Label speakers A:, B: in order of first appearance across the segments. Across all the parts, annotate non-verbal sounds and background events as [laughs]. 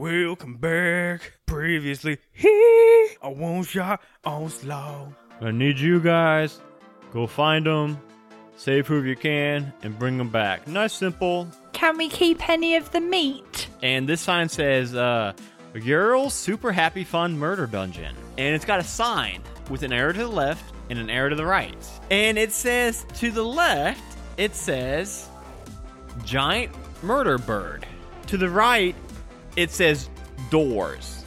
A: Welcome back. Previously, he a one shot onslaught.
B: I need you guys. Go find them, save who you can, and bring them back. Nice, simple.
C: Can we keep any of the meat?
B: And this sign says, uh, Ural Super Happy Fun Murder Dungeon. And it's got a sign with an arrow to the left and an arrow to the right. And it says, to the left, it says, Giant Murder Bird. To the right, it says, Doors.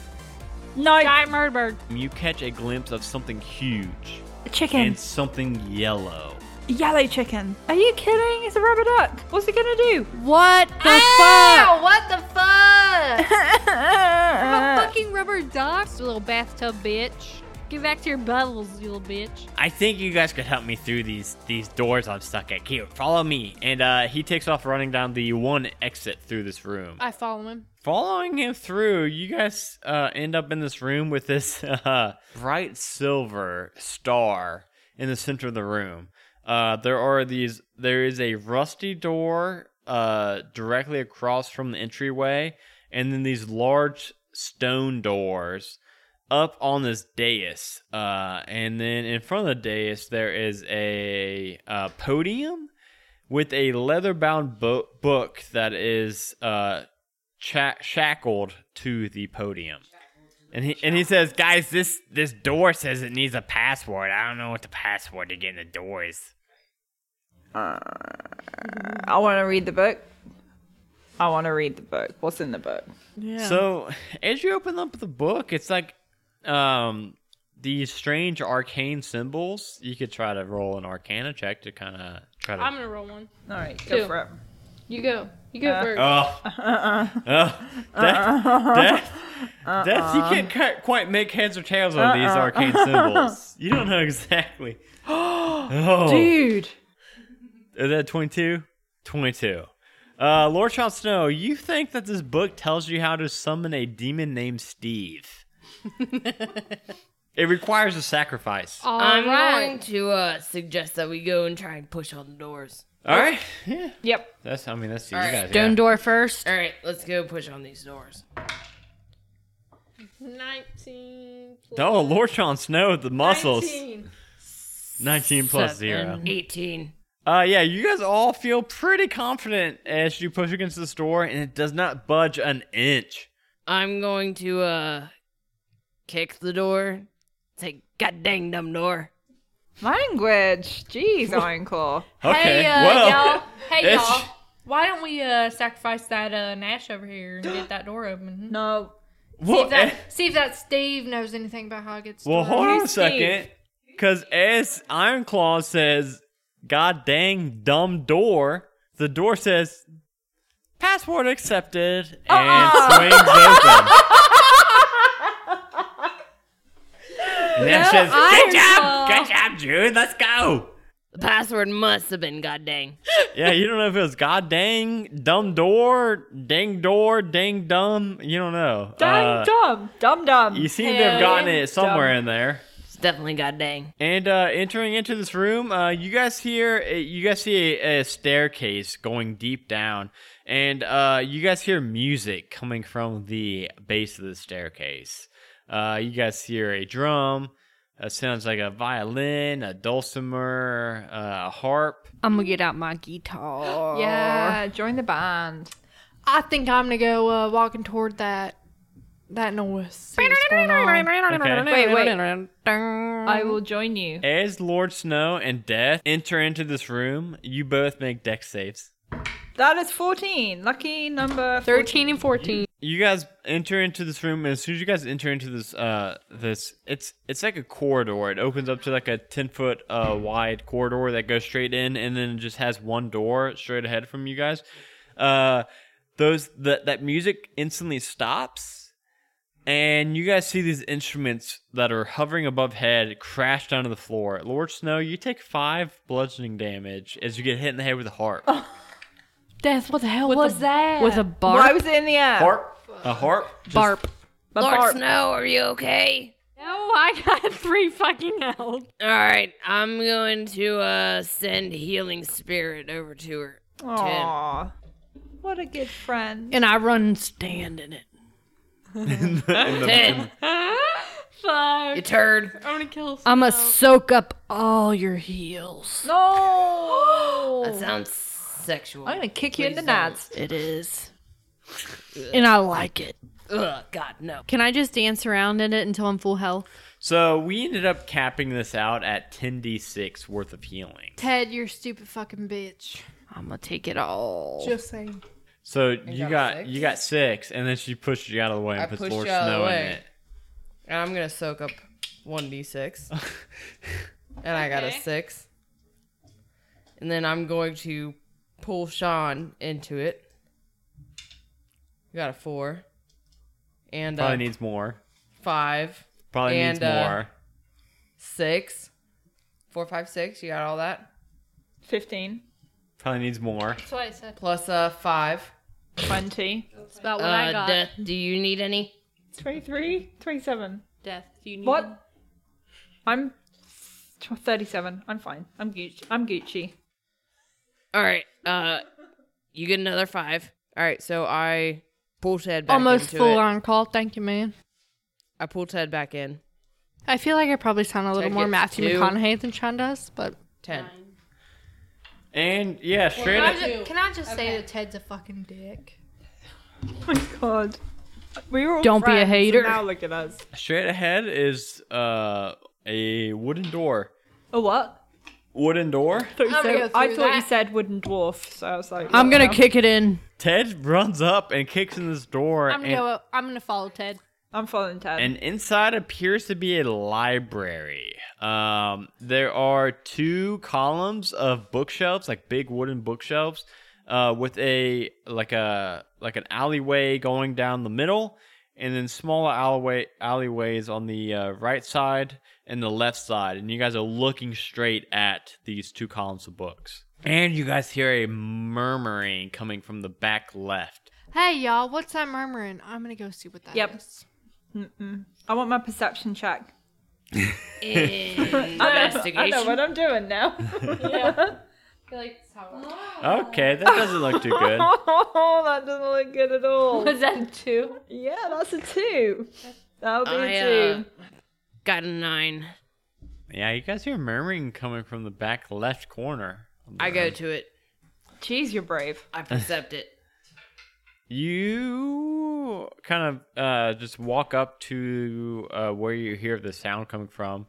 C: No. Giant murder bird.
B: You catch a glimpse of something huge
C: A chicken.
B: and something yellow.
C: Yellow chicken. Are you kidding? It's a rubber duck. What's it gonna do?
D: What the
E: Ow,
D: fuck?
E: what
D: [laughs]
E: the fuck?
D: A fucking rubber duck, you little bathtub bitch. Get back to your bubbles, you little bitch.
B: I think you guys could help me through these these doors I'm stuck at. Here, follow me. And uh, he takes off running down the one exit through this room.
D: I follow him.
B: Following him through, you guys uh, end up in this room with this [laughs] uh, bright silver star in the center of the room. Uh, there are these. There is a rusty door uh, directly across from the entryway, and then these large stone doors up on this dais. Uh, and then in front of the dais, there is a uh, podium with a leather-bound bo- book that is uh, cha- shackled to the podium. And he and he says, "Guys, this this door says it needs a password. I don't know what the password to get in the door is."
C: I want to read the book. I want to read the book. What's in the book?
B: So as you open up the book, it's like um these strange arcane symbols. You could try to roll an arcana check to kind of try to.
D: I'm gonna roll one.
C: All right, go
D: Two.
C: for it.
D: You go. You go first.
B: Oh, oh, death, death, death! You can't quite- quite make heads or tails of these arcane symbols. You don't know exactly. oh,
C: Dude.
B: Is that 22? 22. Uh, Lord Child Snow, you think that this book tells you how to summon a demon named Steve. it requires a sacrifice.
D: All
E: I'm
D: right.
E: going to uh, suggest that we go and try and push on the doors.
B: All right. Yeah.
C: Yep.
B: That's, I mean, that's you
E: All right.
B: guys.
D: Stone
B: yeah.
D: door first.
E: All right, let's go push on these doors.
D: 19.
B: Oh, Lord Child Snow with the muscles. 19, plus
E: Seven,
B: 0.
E: 18.
B: Uh, yeah, you guys all feel pretty confident as you push against this door, and it does not budge an inch.
E: I'm going to uh, kick the door. Say, god dang dumb door.
C: Language.
B: [laughs]
C: Jeez, Iron Claw.
B: Okay.
D: Hey, uh,
B: well, [laughs]
D: y'all. Hey,
B: it's-
D: y'all. Why don't we uh, sacrifice that uh, Nash over here
B: [gasps]
D: and get that door open?
C: No.
D: See
B: [laughs] well,
D: if, that,
B: eh,
D: see if that Steve knows anything about how it gets.
B: Well, hold on a
C: Who's Steve?
B: second, because as Ironclaw says, "God dang dumb door," the door says, "Password accepted,"
D: Uh-uh.
B: and swings open.
D: [laughs]
B: and then says, "Good job, good job, Jude. Let's go."
E: The password must have been god dang.
B: Yeah, you don't know if it was God dang dumb door, dang door, dang dumb. You don't know.
C: Dang
B: Uh,
C: dumb. Dumb dumb.
B: You seem to have gotten it somewhere in there.
E: It's definitely god dang.
B: And uh, entering into this room, uh, you guys hear uh, you guys see a, a staircase going deep down, and uh, you guys hear music coming from the base of the staircase. Uh, you guys hear a drum. It sounds like a violin, a dulcimer, uh, a harp.
D: I'm gonna get out my guitar. Yeah,
C: yeah, join the band.
D: I think I'm gonna go uh, walking toward that that noise. see what's going on.
B: Okay.
C: Wait, wait. I will join you.
B: As Lord Snow and Death enter into this room, you both make deck saves.
C: That is 14. Lucky number 13.
D: Thirteen and fourteen.
B: you guys enter into this room and as soon as you guys enter into this uh this it's it's like a corridor it opens up to like a 10 foot uh wide corridor that goes straight in and then it just has one door straight ahead from you guys uh those that that music instantly stops and you guys see these instruments that are hovering above head crash down to the floor lord snow you take five bludgeoning damage as you get hit in the head with a harp
D: Death. What the hell was that?
C: With
D: a
C: Barb. Why was it in the air?
B: harp a harp Just-
D: barp.
C: My
E: Lord
C: barb.
E: Snow, are you okay?
D: No,
F: Oh,
D: I got three fucking health.
E: All right, I'm going to uh, send healing spirit over to her.
C: Aw. What a good friend.
D: And I run and stand in it.
B: In the- in the-
E: Ten.
F: Fuck.
E: You turd.
F: I'm gonna kill
E: I'ma
F: someone.
E: soak up all your heels.
C: No.
D: Oh.
E: That sounds sexual.
C: I'm gonna kick you in the
E: Please
C: nuts.
E: don't. It is. and I like it. Ugh, God, no.
F: Can I just dance around in it until I'm full health?
B: So we ended up capping this out at 10d6 worth of healing.
F: Ted, you're a stupid fucking bitch.
E: I'm gonna take it all.
C: Just saying.
B: So you
E: got
B: got
E: six?
B: you got six, and then she pushed you out of the way and
E: I
B: puts
E: pushed
B: more
E: you out of the
B: snow in
E: way.
B: it.
E: [laughs] And I'm gonna soak up one d six, and I got a
F: Okay.
E: six. And then I'm going to pull Sean into it. Got a four, and
B: Probably
E: uh,
B: needs more.
E: five,
B: Probably
E: and,
B: needs
E: uh,
B: more.
E: six, four, five, six. You got all that
C: [gasps] Fifteen.
B: Probably needs more.
F: That's what I said.
E: plus uh five. Uh,
C: Twenty.
F: That's about
D: Uh,
F: what I got. Death.
E: do you need any?
C: Twenty-three. Twenty-seven.
F: Do you need
C: What? I'm tw- thirty-seven. I'm fine. I'm Gucci. I'm Gucci. [laughs]
E: All right. Uh, you get another five. All right. So I pull Ted back
D: Almost
E: into
D: full
E: it.
D: on call. Thank you, man.
E: I pull Ted back in.
D: I feel like I probably sound a little
E: Ted
D: more
E: gets
D: Matthew
E: two.
D: McConaughey than Sean does, but
E: Ten.
B: And yeah, straight
F: Can I
B: up.
F: just, can I just say that Ted's a fucking dick?
C: Oh my god. We were all
D: Don't be a
C: friends, and
D: hater.
C: Now look at us.
B: Straight ahead is uh a wooden door.
C: A what?
B: Wooden door.
C: I thought, you
F: gonna
C: said,
F: go
C: I
F: through
C: thought you
F: that.
C: said wooden dwarf, so I was like,
D: I'm
C: what
D: gonna
C: the-
D: kick it in.
B: Ted runs up and kicks in this door,
D: I'm gonna
B: and,
D: go, I'm gonna follow Ted.
C: I'm following Ted.
B: and inside appears to be a library. Um, there are two columns of bookshelves, like big wooden bookshelves, uh, with a like a like an alleyway going down the middle, and then smaller alleyway alleyways on the uh, right side and the left side. And you guys are looking straight at these two columns of books, and you guys hear a murmuring coming from the back left.
D: Hey y'all, what's that murmuring? I'm gonna go see what that is.
C: Yep. I want my perception check. [laughs] I know what
E: Investigation.
C: I'm doing now. [laughs]
B: Okay, that doesn't look too good.
C: oh, that doesn't look good at
F: [laughs]
C: all.
F: Was that two?
C: yeah, that's a two. That'll be
E: I,
C: a
E: uh,
C: two.
E: got a nine.
B: Yeah, you guys hear murmuring coming from the back left corner.
E: I go to it. uh,
C: Jeez, you're brave.
B: [laughs]
E: I percept it.
B: You kind of uh, just walk up to uh, where you hear the sound coming from,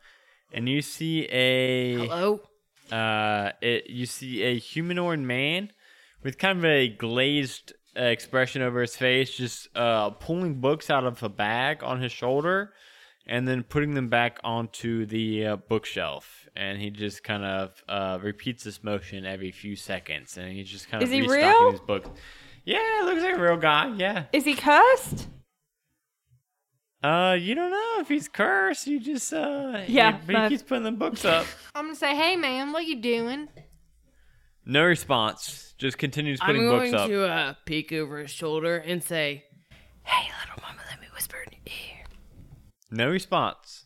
B: and you see a
E: Hello.
B: uh, it, you see a humanoid man with kind of a glazed uh, expression over his face, just uh, pulling books out of a bag on his shoulder, and then putting them back onto the uh, bookshelf. And he just kind of uh, repeats this motion every few seconds, and he's just kind of
C: Is he
B: restocking
C: real?
B: his books. Yeah, looks like a real guy. Yeah.
C: Is he cursed?
B: Uh, you don't know if he's cursed. You just uh,
C: Yeah,
B: He, he
C: but-
B: keeps putting the books up.
D: I'm gonna say, hey man, what you doing?
B: No response. Just continues
E: I'm
B: putting
E: going
B: books up.
E: to uh, peek over his shoulder and say, "Hey, little mama, let me whisper in your ear.
B: No response.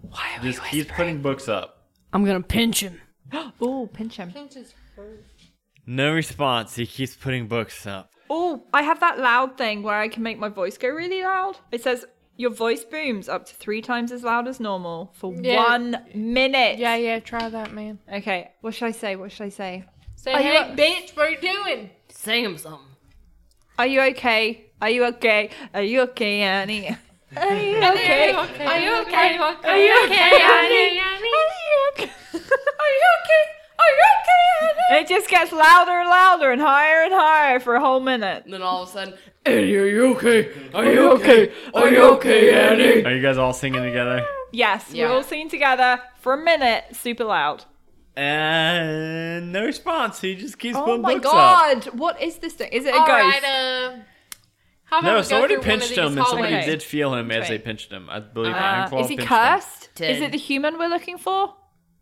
E: Why are
B: Just
E: we
B: keep
E: whispering?"
B: putting books up.
E: I'm gonna pinch him.
C: Oh, pinch him.
B: No response. He keeps putting books up.
C: Oh, I have that loud thing where I can make my voice go really loud. It says your voice booms up to three times as loud as normal for
D: Yeah.
C: one minute.
D: Yeah, yeah, try that man.
C: Okay, what should I say? What should I say?
D: Say
C: Are you
D: hey
C: a-
D: bitch, what are you doing?
E: Sing him something.
C: Are you okay? Are you okay? Are you okay, Annie? Are [laughs] you okay? Are you okay? Are you okay? Are you okay, Annie? Are you okay? Are you okay? Are you okay, Annie? It just gets louder and louder and higher and higher for a whole minute.
E: And then all of a sudden, Eddie, are you okay? Are you okay? Are you okay, Eddie?
B: Are you guys all singing together?
C: Yes,
E: Yeah.
C: we're all singing together for a minute, super loud.
B: And Uh, no response. He just keeps
C: Oh
B: putting
C: my
B: books up.
C: god! What is this thing? Is it a ghost?
D: uh, how
B: No, somebody
D: through one of
B: pinched
D: these
B: him, and somebody
C: hallways?
B: did feel him as they
C: Okay.
B: pinched him. I believe
C: Uh,
B: Iron Claw
C: is he
B: pinched him.
C: cursed?
E: Ten.
C: Is it the human we're looking for?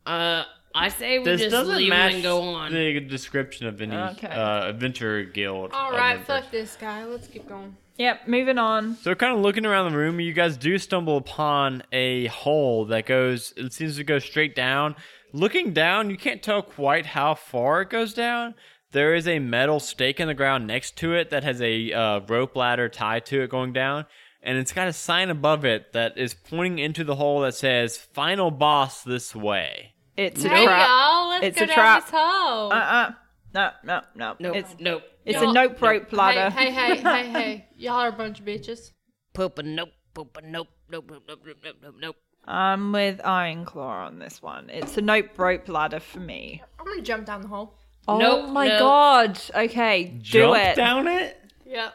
E: Uh, I say we
B: This
E: just
B: doesn't
E: leave him
B: match
E: and go on.
B: the description of any
C: Okay.
B: uh, adventure guild.
D: All right,
B: member.
D: fuck this guy. Let's keep going.
C: Yep, moving on.
B: So, kind of looking around the room, you guys do stumble upon a hole that goes, it seems to go straight down. Looking down, you can't tell quite how far it goes down. There is a metal stake in the ground next to it that has a uh, rope ladder tied to it going down. and it's got a sign above it that is pointing into the hole that says "Final Boss this way."
C: It's a
D: Hey
C: trap.
D: y'all, let's
C: It's
D: go
C: a
D: down
C: trap.
D: this hole.
C: Uh uh. No, no, no.
G: Nope.
C: It's
G: nope.
C: it's
E: Y'all-
C: a nope rope
E: Hey,
C: ladder.
E: hey, hey,
D: [laughs]
E: hey, hey. Y'all are a bunch of bitches.
G: Poop a nope. Poop a nope. Nope. Nope. Nope. Nope. Nope. Nope. nope.
C: I'm with Iron Claw on this one. It's a nope rope ladder for me.
E: I'm gonna jump down the hole.
C: Oh
G: Nope,
C: my
G: nope.
C: god. Okay, do
B: Jump
C: it.
B: down it.
E: Yep.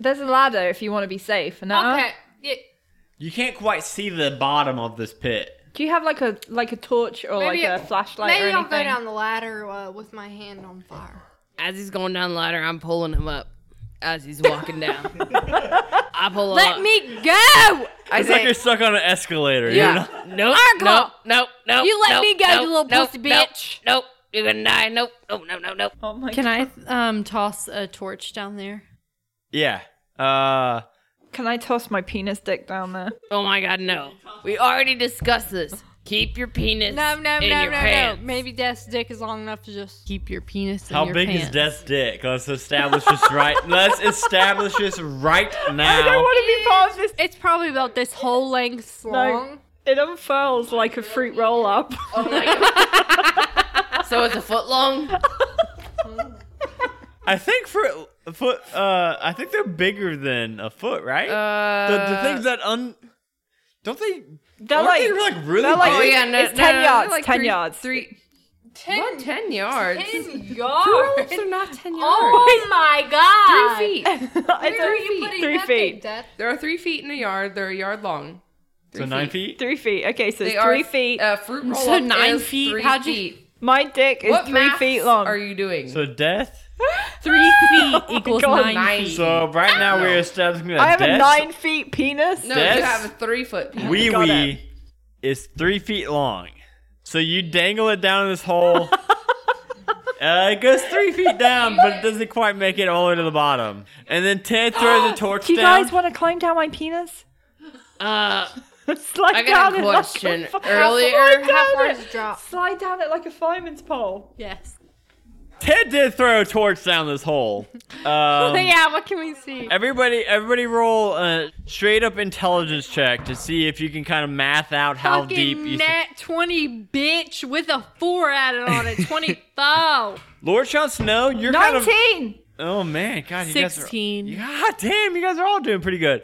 C: There's a ladder if you want to be safe. uh, No?
E: Okay. Yeah.
B: You can't quite see the bottom of this pit.
C: Do you have like a like a torch or
E: Maybe
C: like a
E: it-
C: flashlight or
E: Maybe
C: anything?
E: I'll go down the ladder uh, with my hand on fire.
G: As he's going down the ladder, I'm pulling him up. As he's walking down, I pull him up.
D: Let me go.
G: I
B: It's like
G: say,
B: you're stuck on an escalator. You're
G: yeah.
B: not-
G: Nope.
D: Argo.
G: Nope. Nope. Nope.
D: You let
G: nope,
D: me go,
G: nope,
D: you little
G: nope,
D: pussy
G: nope,
D: bitch.
G: Nope. You're gonna die. Nope. Nope. Nope. Nope. Nope.
C: Oh my
H: Can I um toss a torch down there?
B: yeah. Uh,
C: Can I toss my penis dick down there?
G: Oh my God. No. We already discussed this. Keep your penis
H: No, no,
G: in
H: no,
G: your
H: no, no.
G: pants.
D: Maybe Death's dick is long enough to just keep your penis in
B: how
D: your
B: big
D: pants.
B: is Death's dick? Let's establish this right. Let's establish this right now.
C: I don't want to be part of this.
D: It's probably about this whole length long.
C: No, it unfurls like a fruit roll up.
G: Oh [laughs] So it's a foot long.
B: I think for a foot, uh, I think they're bigger than a foot, right?
G: Uh,
B: the, the things that un, don't they?
C: They're
B: aren't
C: like,
B: they
C: [laughs]
B: like really
C: they're like-
G: oh
B: big?
G: yeah, no,
C: it's
G: no,
C: ten
G: no,
C: yards.
G: Like
C: ten
G: three,
C: yards.
G: Three,
E: Ten,
G: what, ten yards.
D: [laughs]
E: yards.
G: They're not ten
E: [laughs]
G: yards.
E: Oh my god.
C: [laughs]
G: Three feet.
C: It's
E: Where are
C: a-
E: you putting
C: three
E: that
C: feet.
E: thing, Death?
G: There are three feet in a yard. They're a yard long.
B: so nine feet.
C: Three feet. Okay, so
G: They
C: it's
G: are
C: three feet.
G: Uh, fruit roll
H: So nine feet?
G: Three
H: How'd you-
G: feet.
C: my dick is
G: what
C: three
G: maths
C: feet long.
G: Are you doing?
B: So death.
H: Three feet equals
C: God,
H: nine,
G: nine.
H: feet.
B: So right now we're establishing that
C: I have a
B: death.
C: nine feet penis.
G: no, you
B: That's-
G: have a three foot. penis.
B: Wee
C: Got
B: wee is three feet long. So you dangle it down this
C: [laughs]
B: hole. Uh, it goes three feet down, but it doesn't quite make it all the way to the bottom. And then Ted throws
C: [gasps]
B: a torch
C: Do you
B: down.
C: guys want to climb down my penis? [laughs]
G: Uh,
C: Slide
G: I
C: down
G: got a
C: it like
G: question.
C: fi-
G: Earlier,
C: slide
E: How
C: down
E: far
C: it.
E: does it drop?
C: Slide down it like a fireman's pole.
H: Yes.
B: Ted did throw a torch down this
C: [laughs]
B: hole. Um,
D: yeah, what can we see?
B: Everybody, everybody, roll a straight up intelligence check to see if you can kind of math out how
D: Fucking
B: deep you.
D: nat twenty bitch with a four added on it. Twenty
B: [laughs]
D: five.
B: Lord Sean Snow, you're kind of.
C: Nineteen.
B: Oh man, God, you
H: Sixteen.
B: guys are. God damn, you guys are all doing pretty good.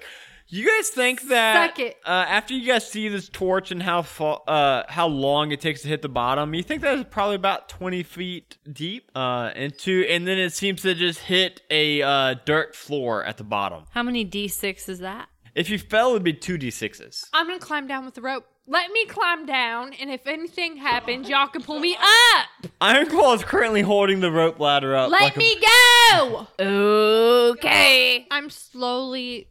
B: You guys think that
D: Suck it.
B: Uh, after you guys see this torch and how fa- uh, how long it takes to hit the bottom, you think that is probably about twenty feet deep uh, into, and then it seems to just hit a uh, dirt floor at the bottom.
H: How many d6 is that?
B: If you fell, it'd be two d sixes.
D: I'm gonna climb down with the rope. Let me climb down, and if anything happens, y'all can pull me up.
B: Ironclaw is currently holding the rope ladder up.
D: Let
B: like a-
D: me
B: [laughs]
D: go.
G: okay.
D: I'm slowly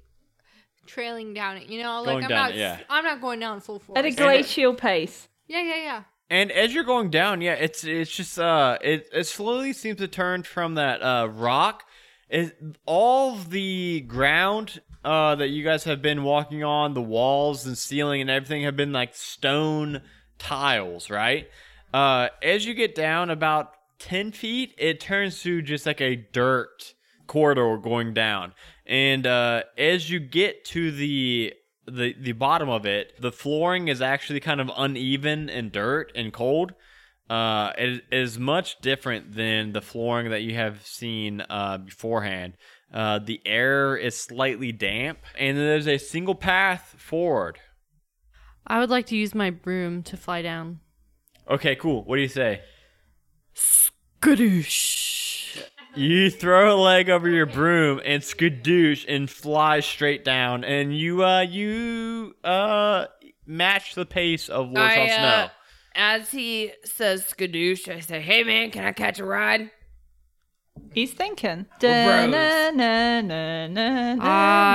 D: trailing down it. You know, like
B: Going
D: I'm
B: down
D: not.
B: it, yeah.
D: I'm not going down full force.
C: At a glacial pace.
D: yeah, yeah, yeah.
B: and as you're going down, yeah, it's it's just uh, it it slowly seems to turn from that uh rock. It, all of the ground uh that you guys have been walking on, the walls and ceiling and everything have been like stone tiles, right? Uh, as you get down about ten feet, it turns to just like a dirt corridor going down. And uh, as you get to the the the bottom of it, the flooring is actually kind of uneven and dirt and cold. Uh, it it is much different than the flooring that you have seen uh, beforehand. Uh, the air is slightly damp, and there's a single path forward.
H: I would like to use my broom to fly down.
B: Okay, cool. What do you say?
H: Gadoosh.
B: You throw a leg over your broom and skadoosh and fly straight down, and you uh you uh match the pace of Lord
G: I,
B: Sean
G: uh,
B: Snow.
G: As he says skadoosh, I say, "Hey man, can I catch a ride?"
C: He's thinking.
G: Rose.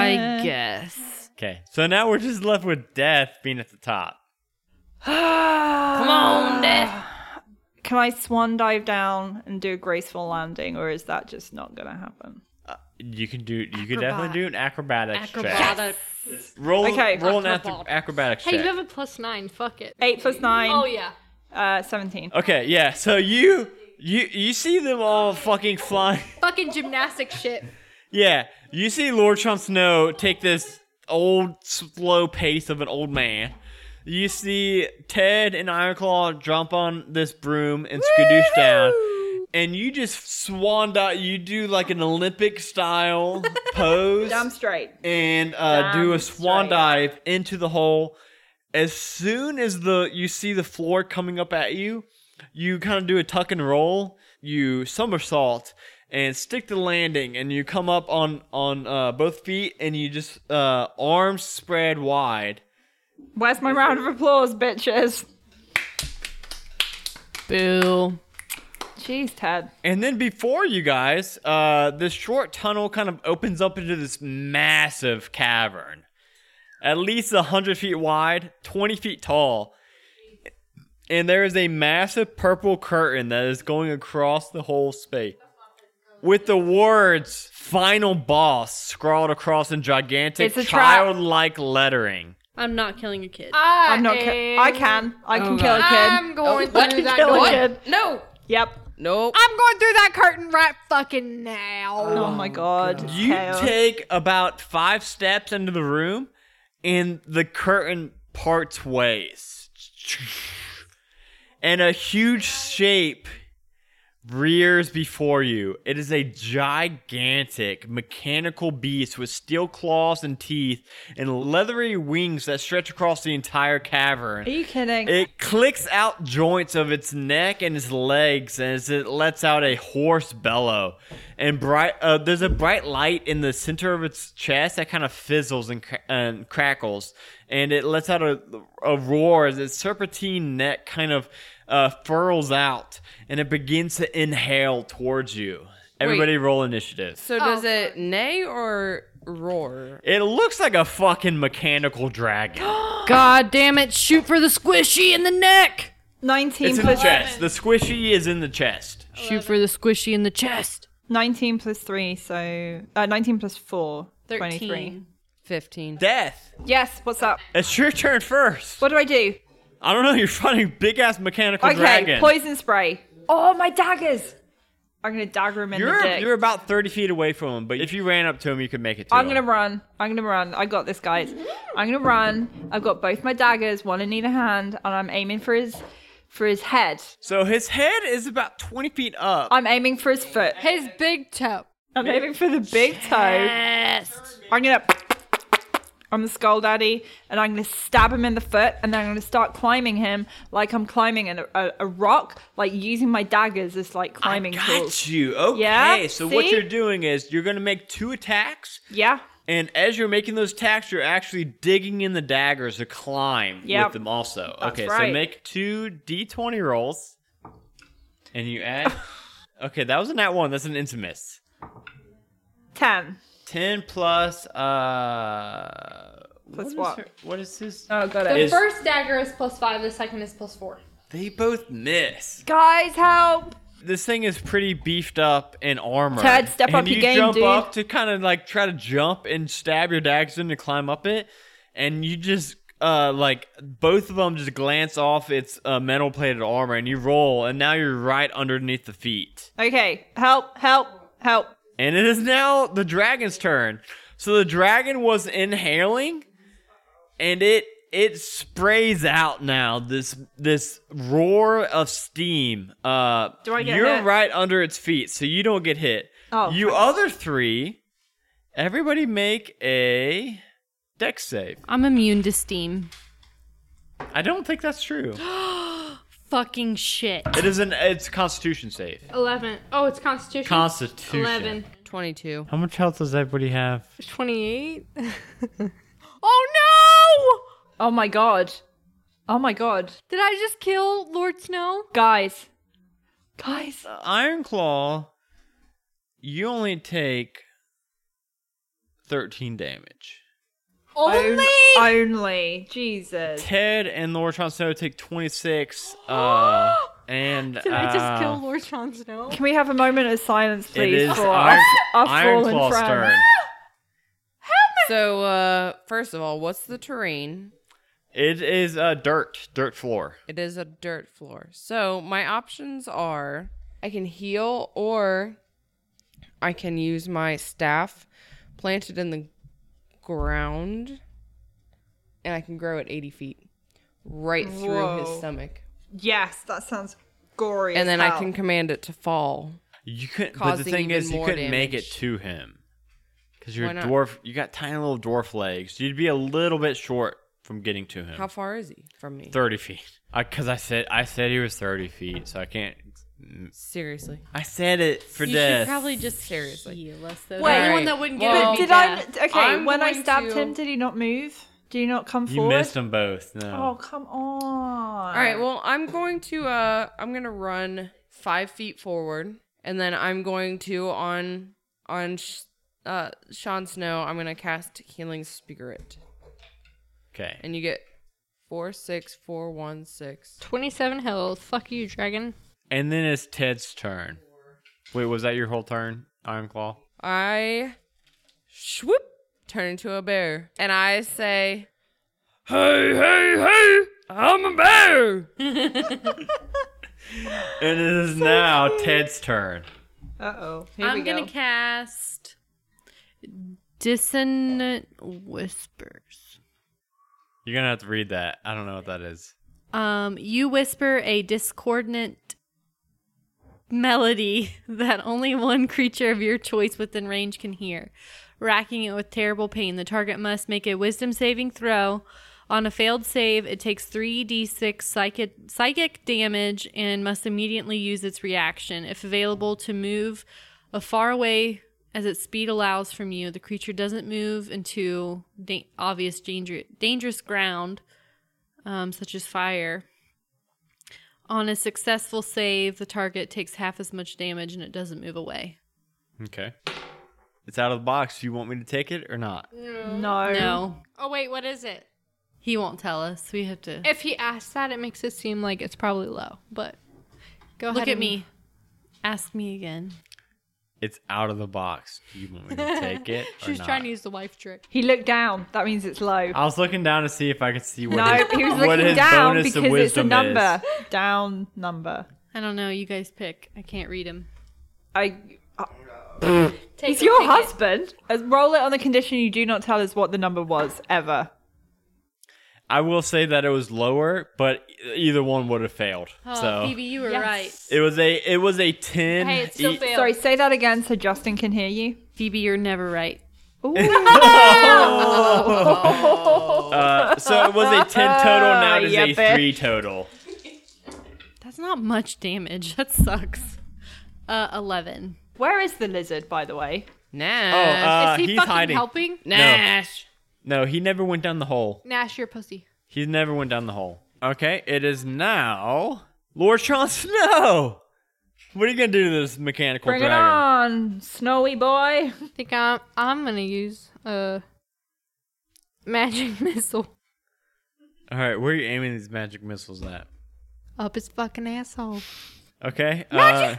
H: I guess.
B: Okay, so now we're just left with Death being at the top.
G: Come on, Death.
C: Can I swan dive down and do a graceful landing, or is that just not going to happen?
B: You can do. You can definitely do an acrobatics check.
D: Acrobat.
B: Roll.
C: Okay.
B: Roll an ath- acrobatics
D: Hey,
B: check.
D: you have a plus nine. Fuck it.
C: Eight plus nine.
D: Oh yeah.
C: Uh, seventeen.
B: okay. Yeah. So you you you see them all fucking flying. [laughs]
H: [laughs]
D: Fucking gymnastic shit.
B: Yeah. You see Lord Sean Snow take this old slow pace of an old man. You see Ted and Ironclaw jump on this broom and skadoosh down, and you just swan dive. You do like an Olympic style pose
C: Dumb straight.
B: and uh, do a
C: Down
B: swan
C: straight.
B: dive into the hole. As soon as the you see the floor coming up at you, you kind of do a tuck and roll. You somersault and stick the landing, and you come up on on uh, both feet, and you just uh, arms spread wide.
C: Where's my round of applause, bitches?
G: Boo.
C: Jeez, Ted.
B: And then before you guys, uh, this short tunnel kind of opens up into this massive cavern, at least 100 feet wide, 20 feet tall. And there is a massive purple curtain that is going across the whole space. With the words final boss scrawled across in gigantic
C: It's a trap.
B: childlike lettering.
H: I'm not killing a kid.
E: I
C: I'm not. Ca- I
E: am-
C: can. I can
G: Oh,
C: kill a kid.
E: I'm going
C: I
E: through
C: can
E: that
C: kill a
E: door.
C: kid.
G: No.
C: Yep.
G: Nope.
D: I'm going through that curtain right fucking now.
B: Uh,
C: Oh, my god.
B: You
C: Chaos.
B: take about five steps into the room, and the curtain parts ways. And a huge shape rears before you. It is a gigantic mechanical beast with steel claws and teeth and leathery wings that stretch across the entire cavern.
C: Are you kidding?
B: It clicks out joints of its neck and its legs as it lets out a hoarse bellow. And bright, uh, there's a bright light in the center of its chest that kind of fizzles and, cra- and crackles. And it lets out a, a roar as its serpentine neck kind of uh, furls out and it begins to inhale towards you. Everybody roll initiative.
G: So does it neigh or roar?
B: It looks like a fucking mechanical dragon.
H: God damn it! Shoot for the squishy in the neck.
C: 19
B: it's in the
C: plus
B: chest. The squishy is in the chest.
H: Shoot for the squishy in the chest.
C: 19 plus 3, so uh, 19 plus 4, 23.
H: 13.
G: 15.
B: Death.
C: Yes, what's up?
B: It's your turn first.
C: What do I do?
B: I don't know. [laughs] You're fighting big ass mechanical
C: Okay,
B: dragon.
C: poison spray. Oh, my daggers. I'm going to dagger him in the
B: You're
C: dick.
B: you're about thirty feet away from him, but if you ran up to him, you could make it. To
C: I'm
B: him.
C: going to run. I'm going to run. I got this, guys. I'm going to run. I've got both my daggers, one in either hand, and I'm aiming for his for his head.
B: So his head is about twenty feet up.
C: I'm aiming for his foot.
D: His big toe.
C: I'm aiming for the big toe.
H: Chest.
C: I'm gonna. I'm the skull daddy, and I'm gonna stab him in the foot, and then I'm gonna start climbing him like I'm climbing a, a, a rock, like using my daggers as like climbing
B: Got
C: tools.
B: you. Okay.
C: Yeah,
B: so what
C: see?
B: you're doing is you're gonna make two attacks,
C: Yeah,
B: and as you're making those attacks, you're actually digging in the daggers to climb
C: Yep.
B: with them also.
C: That's
B: okay. So
C: right.
B: make two d20 rolls, and you
C: [laughs]
B: add. okay, that was a nat one. That's an infamous.
C: ten.
B: Ten plus uh.
C: Plus
B: is
C: what?
B: her- what is his?
C: Oh, got
E: The
C: it.
B: Is-
E: first dagger is plus five. The second is plus four.
B: They both miss.
C: Guys, help!
B: This thing is pretty beefed up in armor.
C: Ted, step
B: and
C: up
B: you
C: your game,
B: jump
C: dude.
B: up to kind of like try to jump and stab your daggers in to climb up it, and you just uh like both of them just glance off its uh, metal plated armor, and you roll, and now you're right underneath the feet.
C: Okay, help, help, help.
B: And it is now the dragon's turn. So the dragon was inhaling and it it sprays out now this this roar of steam. Uh
C: Do I get
B: you're
C: hit?
B: right under its feet, so you don't get hit.
C: Oh,
B: you other three, everybody make a deck save.
H: I'm immune to steam.
B: I don't think that's
C: [gasps]
B: true.
H: Fucking shit.
B: It is an it's a constitution save.
E: Eleven. Oh, it's Constitution.
B: Constitution.
E: Eleven.
G: 22.
B: How much health does everybody have?
E: Twenty-eight.
D: [laughs] Oh no!
C: Oh my god. Oh my god.
D: Did I just kill Lord Snow?
C: Guys. Guys.
B: Iron Claw, you only take 13 damage.
C: Only?
D: Only
C: Only. Jesus.
B: Ted and Laura Tron Snow take 26.
G: [gasps]
B: Uh, and
D: did I
B: uh,
D: just kill Lord Jon Snow?
C: Can we have a moment of silence,
B: It
C: please,
B: is
G: Oh,
C: for
B: Iron,
C: our, our
B: Iron
C: fallen
B: Claw's
C: friend?
B: turn.
G: [laughs] So, uh, first of all, what's the terrain?
B: It is uh, dirt, dirt floor.
G: It is a dirt floor. So, my options are I can heal or I can use my staff planted in the ground, and I can grow at 80 feet, right through his
C: Whoa.
G: stomach.
C: Yes, that sounds gory.
G: And
C: as
G: then I
C: hell.
G: can command it to fall.
B: You couldn't. But the
G: Causing
B: thing
G: even
B: is, you
G: more
B: couldn't make it
G: damage.
B: to him because you're
G: Why
B: a
G: not?
B: dwarf. You got tiny little dwarf legs. You'd be a little bit short from getting to him.
G: How far is he from me?
B: Thirty feet. Because I, said I said he was thirty feet, so I can't.
G: Seriously.
B: I said it for
G: You should
B: death.
G: probably just seriously.
H: Heal us. Wait,
C: Wait.
G: Alright,
E: that wouldn't
G: well-
E: get
C: But
E: it.
C: did I? Okay,
G: I'm
C: when I
G: going
C: stabbed
G: to-
C: him, did he not move? Did he not come
B: you
C: forward?
B: missed them both.
C: Oh
B: No.
C: come on!
G: All right. Well, I'm going to uh, I'm gonna run five feet forward, and then I'm going to on on sh- uh Sean Snow. I'm gonna cast Healing Spirit,
B: Okay.
G: and you get four six four one six.
D: 27 health. Fuck you, dragon.
B: And then it's Ted's turn. Wait, was that your whole turn, Iron Claw?
G: I swoop turn into a bear, and I say,
B: Hey, hey, hey!
G: "I'm a bear."
B: And it is now Ted's turn.
C: Uh oh. Here we
H: I'm
C: go.
H: gonna cast dissonant whispers.
B: You're gonna have to read that. I don't know what that is.
H: Um, you whisper a discordant melody that only one creature of your choice within range can hear. Racking it with terrible pain, the target must make a wisdom saving throw. On a failed save, it takes 3d6 psychic, psychic damage and must immediately use its reaction. If available, to move a far away as its speed allows from you. The creature doesn't move into da- obvious danger- dangerous ground um, such as fire. On a successful save, the target takes half as much damage and it doesn't move away.
B: Okay. It's out of the box. You want me to take it or not?
C: No.
H: No,
D: Oh, wait, what is it?
H: he won't tell us. We have to
D: If he asks that, it makes it seem like it's probably low, but go ahead.
H: look at
D: and-
H: me. Ask me again.
B: It's out of the box. Do you want me to take
C: [laughs]
B: it? or
D: She's
B: not?
D: trying to use the wife trick.
C: He looked down. That means it's low.
B: I was looking down to see if I could see what.
C: no,
B: his,
C: he was
B: what
C: looking
B: his
C: down
B: bonus of
C: because it's a
B: wisdom
C: number.
B: Is.
C: Down number.
H: I don't know. You guys pick. I can't read him.
C: I. Uh, he's your husband. As roll it on the condition you do not tell us what the number was ever.
B: I will say that it was lower, but either one would have failed.
H: Oh,
B: so
H: Phoebe, you were right.
B: it was a it was a ten.
D: Hey, it's still
B: e-
D: failed.
C: Sorry, say that again so Justin can
B: [laughs]
C: hear you.
H: Phoebe, you're never right.
B: uh, so it was a ten total. Now it is [laughs]
C: Yeah,
B: a
C: bitch.
B: three total.
H: That's not much damage. [laughs] That sucks. Uh, eleven.
C: Where is the lizard, by the way?
B: Oh, [laughs]
G: Nash.
B: uh,
D: is he
B: he's
D: fucking
B: hiding.
D: helping?
G: Nash.
B: No, he never went down the hole.
D: Nash, you're a pussy.
B: He never went down the hole. Okay, it is now Lord Sean Snow. What are you gonna do to this mechanical
C: Bring
B: dragon?
C: it on, snowy boy.
D: I think I'm, I'm gonna use a magic [laughs] missile
B: All right, where are you aiming these magic missiles at?
D: up his fucking asshole.
B: Okay, uh,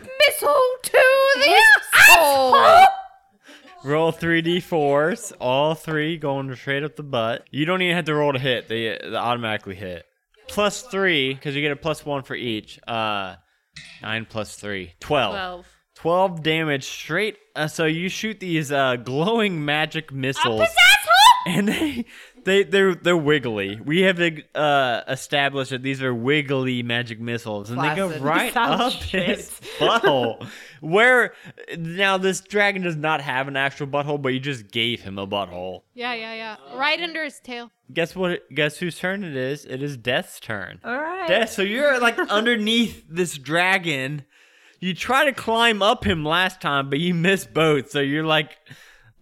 G: Oh,
B: roll three d fours, all three going straight up the butt. You don't even have to roll to hit; they, they automatically hit. Plus three because you get a plus one for each. Uh, nine plus three, twelve.
H: Twelve.
B: 12 damage straight. Uh, so you shoot these uh, glowing magic missiles. And they, they, they're, they're wiggly. We have uh, established that these are wiggly magic missiles, and they
G: Flaccid.
B: go right
C: Sounds
B: up
C: shit.
B: his butthole. Where now this dragon does not have an actual butthole, but you just gave him a butthole.
D: Yeah, yeah, yeah. Right under his tail.
B: Guess what? Guess whose turn it is? It is Death's turn.
C: All right.
B: Yeah, so you're
C: [laughs]
B: like underneath this dragon. You try to climb up him last time, but you miss both. So you're like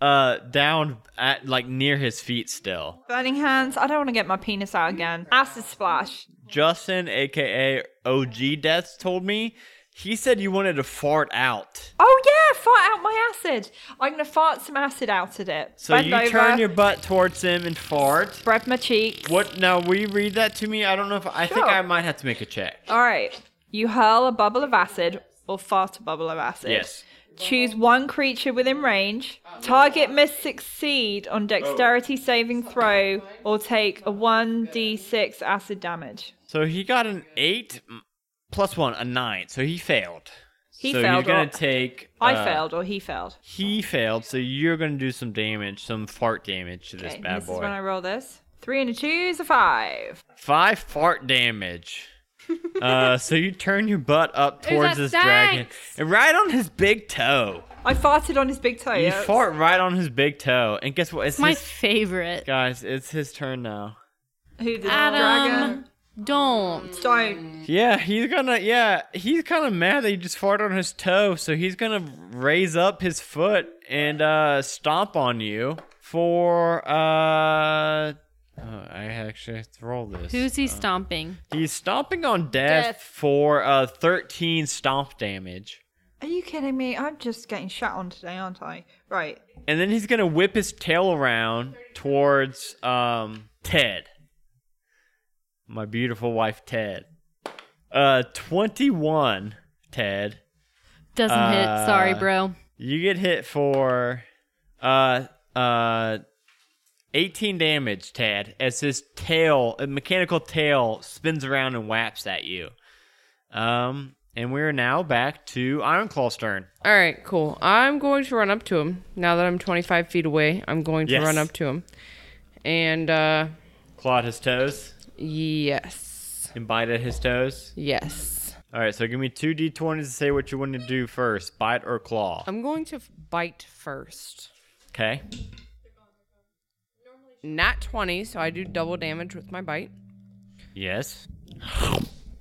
B: uh down at like near his feet still.
C: Burning hands. I don't want to get my penis out again. Acid splash.
B: Justin, aka OG Deaths, told me he said you wanted to fart out.
C: Oh yeah, fart out my acid. I'm gonna fart some acid out at it.
B: So
C: Bend
B: you
C: over,
B: turn your butt towards him and fart.
C: spread my cheeks.
B: What now will you read that to me? I don't know if I think
C: Sure. Oh,
B: I might have to make a check.
C: All right. You hurl a bubble of acid or fart a bubble of acid.
B: Yes.
C: Choose one creature within range. Target must succeed on dexterity saving throw or take a 1d6 acid damage.
B: So he got an eight m- plus one, a nine. So he failed.
C: He
B: so
C: failed.
B: You're
C: Or,
B: gonna take.
C: I
B: uh,
C: failed, or he failed.
B: He failed, so you're gonna do some damage, some fart damage to this
C: Okay,
B: bad
C: this is
B: boy.
C: when I roll this. Three and a two is a five.
B: Five fart
C: [laughs]
B: damage. uh, so you turn your butt up towards
D: that
B: this dragon
D: stinks.
B: and right on his big toe.
C: I farted on his big toe.
B: You
C: Oh, yeah.
B: fart right on his big toe, and guess what? It's
H: My
B: his,
H: favorite.
B: guys. It's his turn now.
C: Who the
H: Adam, don't.
C: dragon?
B: Yeah, he's gonna. Yeah, he's kind of mad that you just farted on his toe, so he's gonna raise up his foot and uh stomp on you for uh. Oh, I actually have to roll this.
H: Who's he stomping?
B: He's stomping on death, for uh 13 stomp damage.
C: Are you kidding me? I'm just getting shot on today, aren't I? Right.
B: And then he's gonna whip his tail around towards um Ted. My beautiful wife Ted. Uh 21 Ted.
H: Doesn't hit. Sorry,
B: Uh,
H: bro.
B: You get hit for uh uh 18 damage, Tad, as his tail, a mechanical tail spins around and whaps at you. Um and we're now back to Ironclaw's turn.
G: All right, cool. I'm going to run up to him. Now that I'm 25 feet away, I'm going to
B: Yes.
G: run up to him. And, uh,
B: Claw at his toes
G: yes.
B: and bite at his toes.
G: Yes.
B: All right, so give me two d20s to say what you want to do first, bite or claw.
G: I'm going to f- bite first.
B: Okay.
G: Not 20, so I do double damage with my bite.
B: Yes.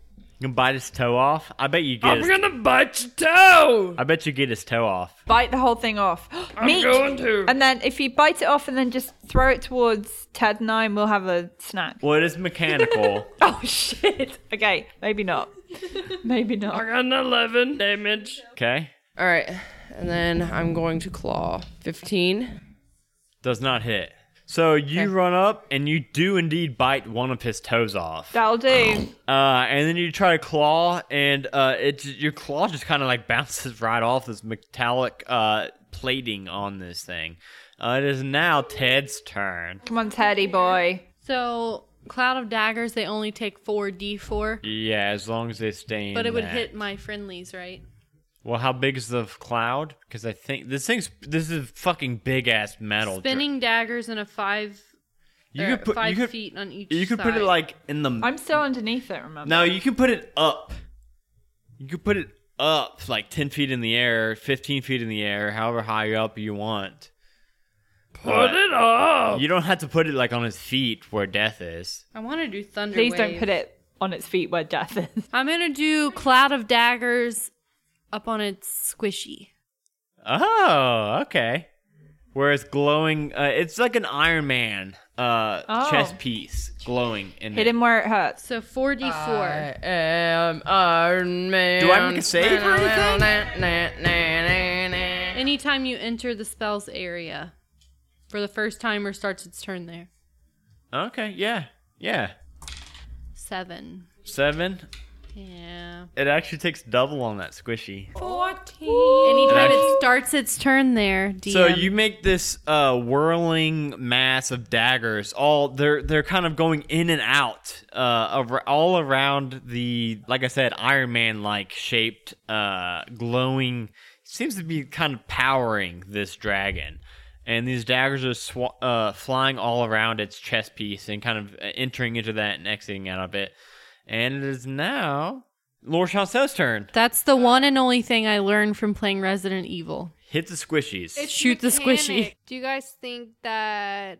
B: You can bite his toe off. I bet you get. His,
G: bite your toe!
B: I bet you get his toe off.
C: Bite the whole
B: [gasps]
C: thing off. Meat.
G: to.
C: And then if you bite it off and then just throw it towards Ted and I, we'll have a snack.
B: Well, it is mechanical.
C: [laughs] Oh shit. Okay,
B: [laughs]
C: maybe not. Maybe not.
G: got an 11 damage.
B: okay.
G: All right, and then I'm going to claw 15.
B: Does not hit. So you run up and you do indeed bite one of his toes off.
C: That'll do.
B: Uh, and then you try to claw, and uh, it j- your claw just kind of like [laughs] bounces right off this metallic uh plating on this thing. Uh, it is now Ted's turn.
C: Come on, Teddy boy.
H: So, Cloud of Daggers, they only take 4d4,
B: Yeah, as long as they stay. In
H: but it would
B: that.
H: hit my friendlies, right?
B: Well, how big is the cloud? Because I think this thing's this is fucking big ass metal. dr-
H: Spinning daggers in a five,
B: You
H: or
B: could put
H: five
B: you could,
H: feet on each
B: You could put it
H: side.
B: like in the.
C: I'm still underneath it, remember?
B: no, you can put it up. You could put it up like ten feet in the air, fifteen feet in the air, however high up you want. Put it up. You don't have to put it like on his feet where death is.
H: I want to do thunder.
C: Please don't
H: Wave.
C: put it on its feet where death is.
H: I'm gonna do cloud of daggers up on its squishy.
B: Oh, okay. Where it's glowing, uh, it's like an Iron Man uh,
C: Oh.
B: chest piece glowing in
C: Hit
B: it.
C: him where it hurts.
H: So 4d4.
G: I am Um, Iron Man.
B: Do I make a save or anything?
G: anything?
H: Anytime you enter the spell's area, for the first timer starts its turn there.
B: Okay, yeah, yeah.
H: Seven.
B: Seven.
H: Yeah.
B: It actually takes double on that squishy.
H: Anytime
B: Actually-
H: it starts its turn there, DM.
B: So you make this uh, whirling mass of daggers. All they're they're kind of going in and out, uh, ar- all around the like I said, Iron Man like shaped, uh, glowing. Seems to be kind of powering this dragon, and these daggers are sw- uh, flying all around its chest piece and kind of uh, entering into that and exiting out of it. And it is now Lord Chancel's turn.
H: That's the one and only thing I learned from playing Resident Evil.
B: Hit the squishies.
H: Shoot the squishy.
D: Do you guys think that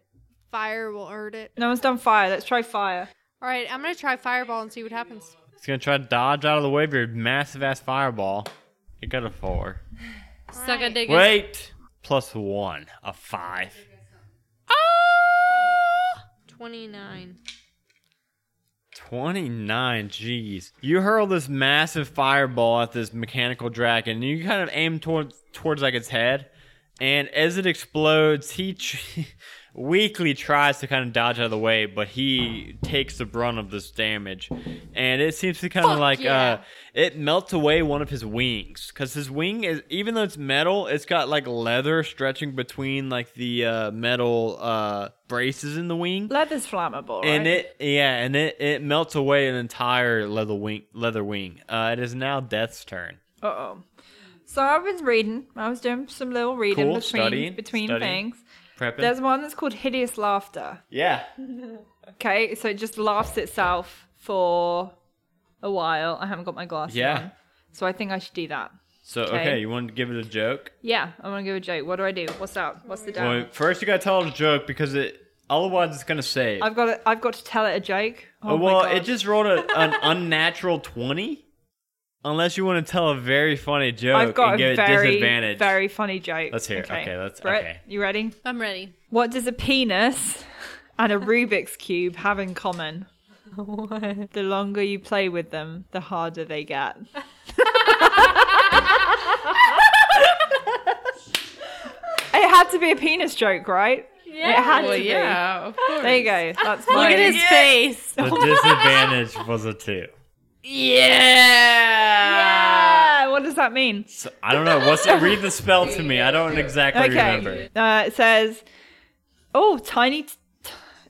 D: fire will hurt it?
C: No one's done fire. Let's try fire.
D: All right, I'm gonna try fireball and see what happens.
B: It's gonna try to dodge out of the way of your massive ass fireball. It got a four.
H: Suck a dick.
B: Wait, plus one, a five.
H: 29.
B: 29, jeez. You hurl this massive fireball at this mechanical dragon. and You kind of aim towards towards like its head, and as it explodes, he tr- [laughs] weakly tries to kind of dodge out of the way, but he takes the brunt of this damage. And it seems to kind of like uh it melts away one of his wings cuz his wing is even though it's metal, it's got like leather stretching between like the uh metal uh braces in the wing
C: Leather's flammable, right?
B: and it yeah and it it melts away an entire leather wing leather wing uh it is now death's turn
C: Uh oh. So I was reading. I was doing some little reading
B: Cool,
C: between
B: studying,
C: between
B: studying.
C: things.
B: Prepping.
C: There's one that's called hideous laughter.
B: yeah.
C: Okay, so it just laughs itself for a while. I haven't got my glasses
B: Yeah.
C: on, so I think I should do that.
B: So okay.
C: Okay.
B: you want to give it a joke?
C: Yeah, I want to give a joke. What do I do? What's up? What's the down?
B: Well, first you gotta tell it a joke because it otherwise it's gonna save.
C: I've got to, I've got to tell it a joke. Oh,
B: Uh,
C: my
B: well,
C: God.
B: it just rolled a,
C: [laughs]
B: an unnatural twenty. Unless you want to tell a very funny joke
C: I've got
B: and give
C: a very
B: it disadvantage.
C: very funny joke.
B: Let's hear it. Okay, let's-
C: Brett,
B: okay.
C: You ready?
H: I'm ready.
C: What does a penis and a Rubik's cube have in common? The longer you play with them, the harder they get. it had to be a penis joke, right? Yeah. It had to
G: Well,
C: be.
G: yeah, of course.
C: There you go. That's mine.
H: Look at his face.
B: The disadvantage
C: [laughs]
B: was a two.
C: Yeah. What does that mean?
B: So, I don't know. What's it? Read the spell to me. I don't exactly remember.
C: Okay. Uh, it says, "Oh, tiny." T-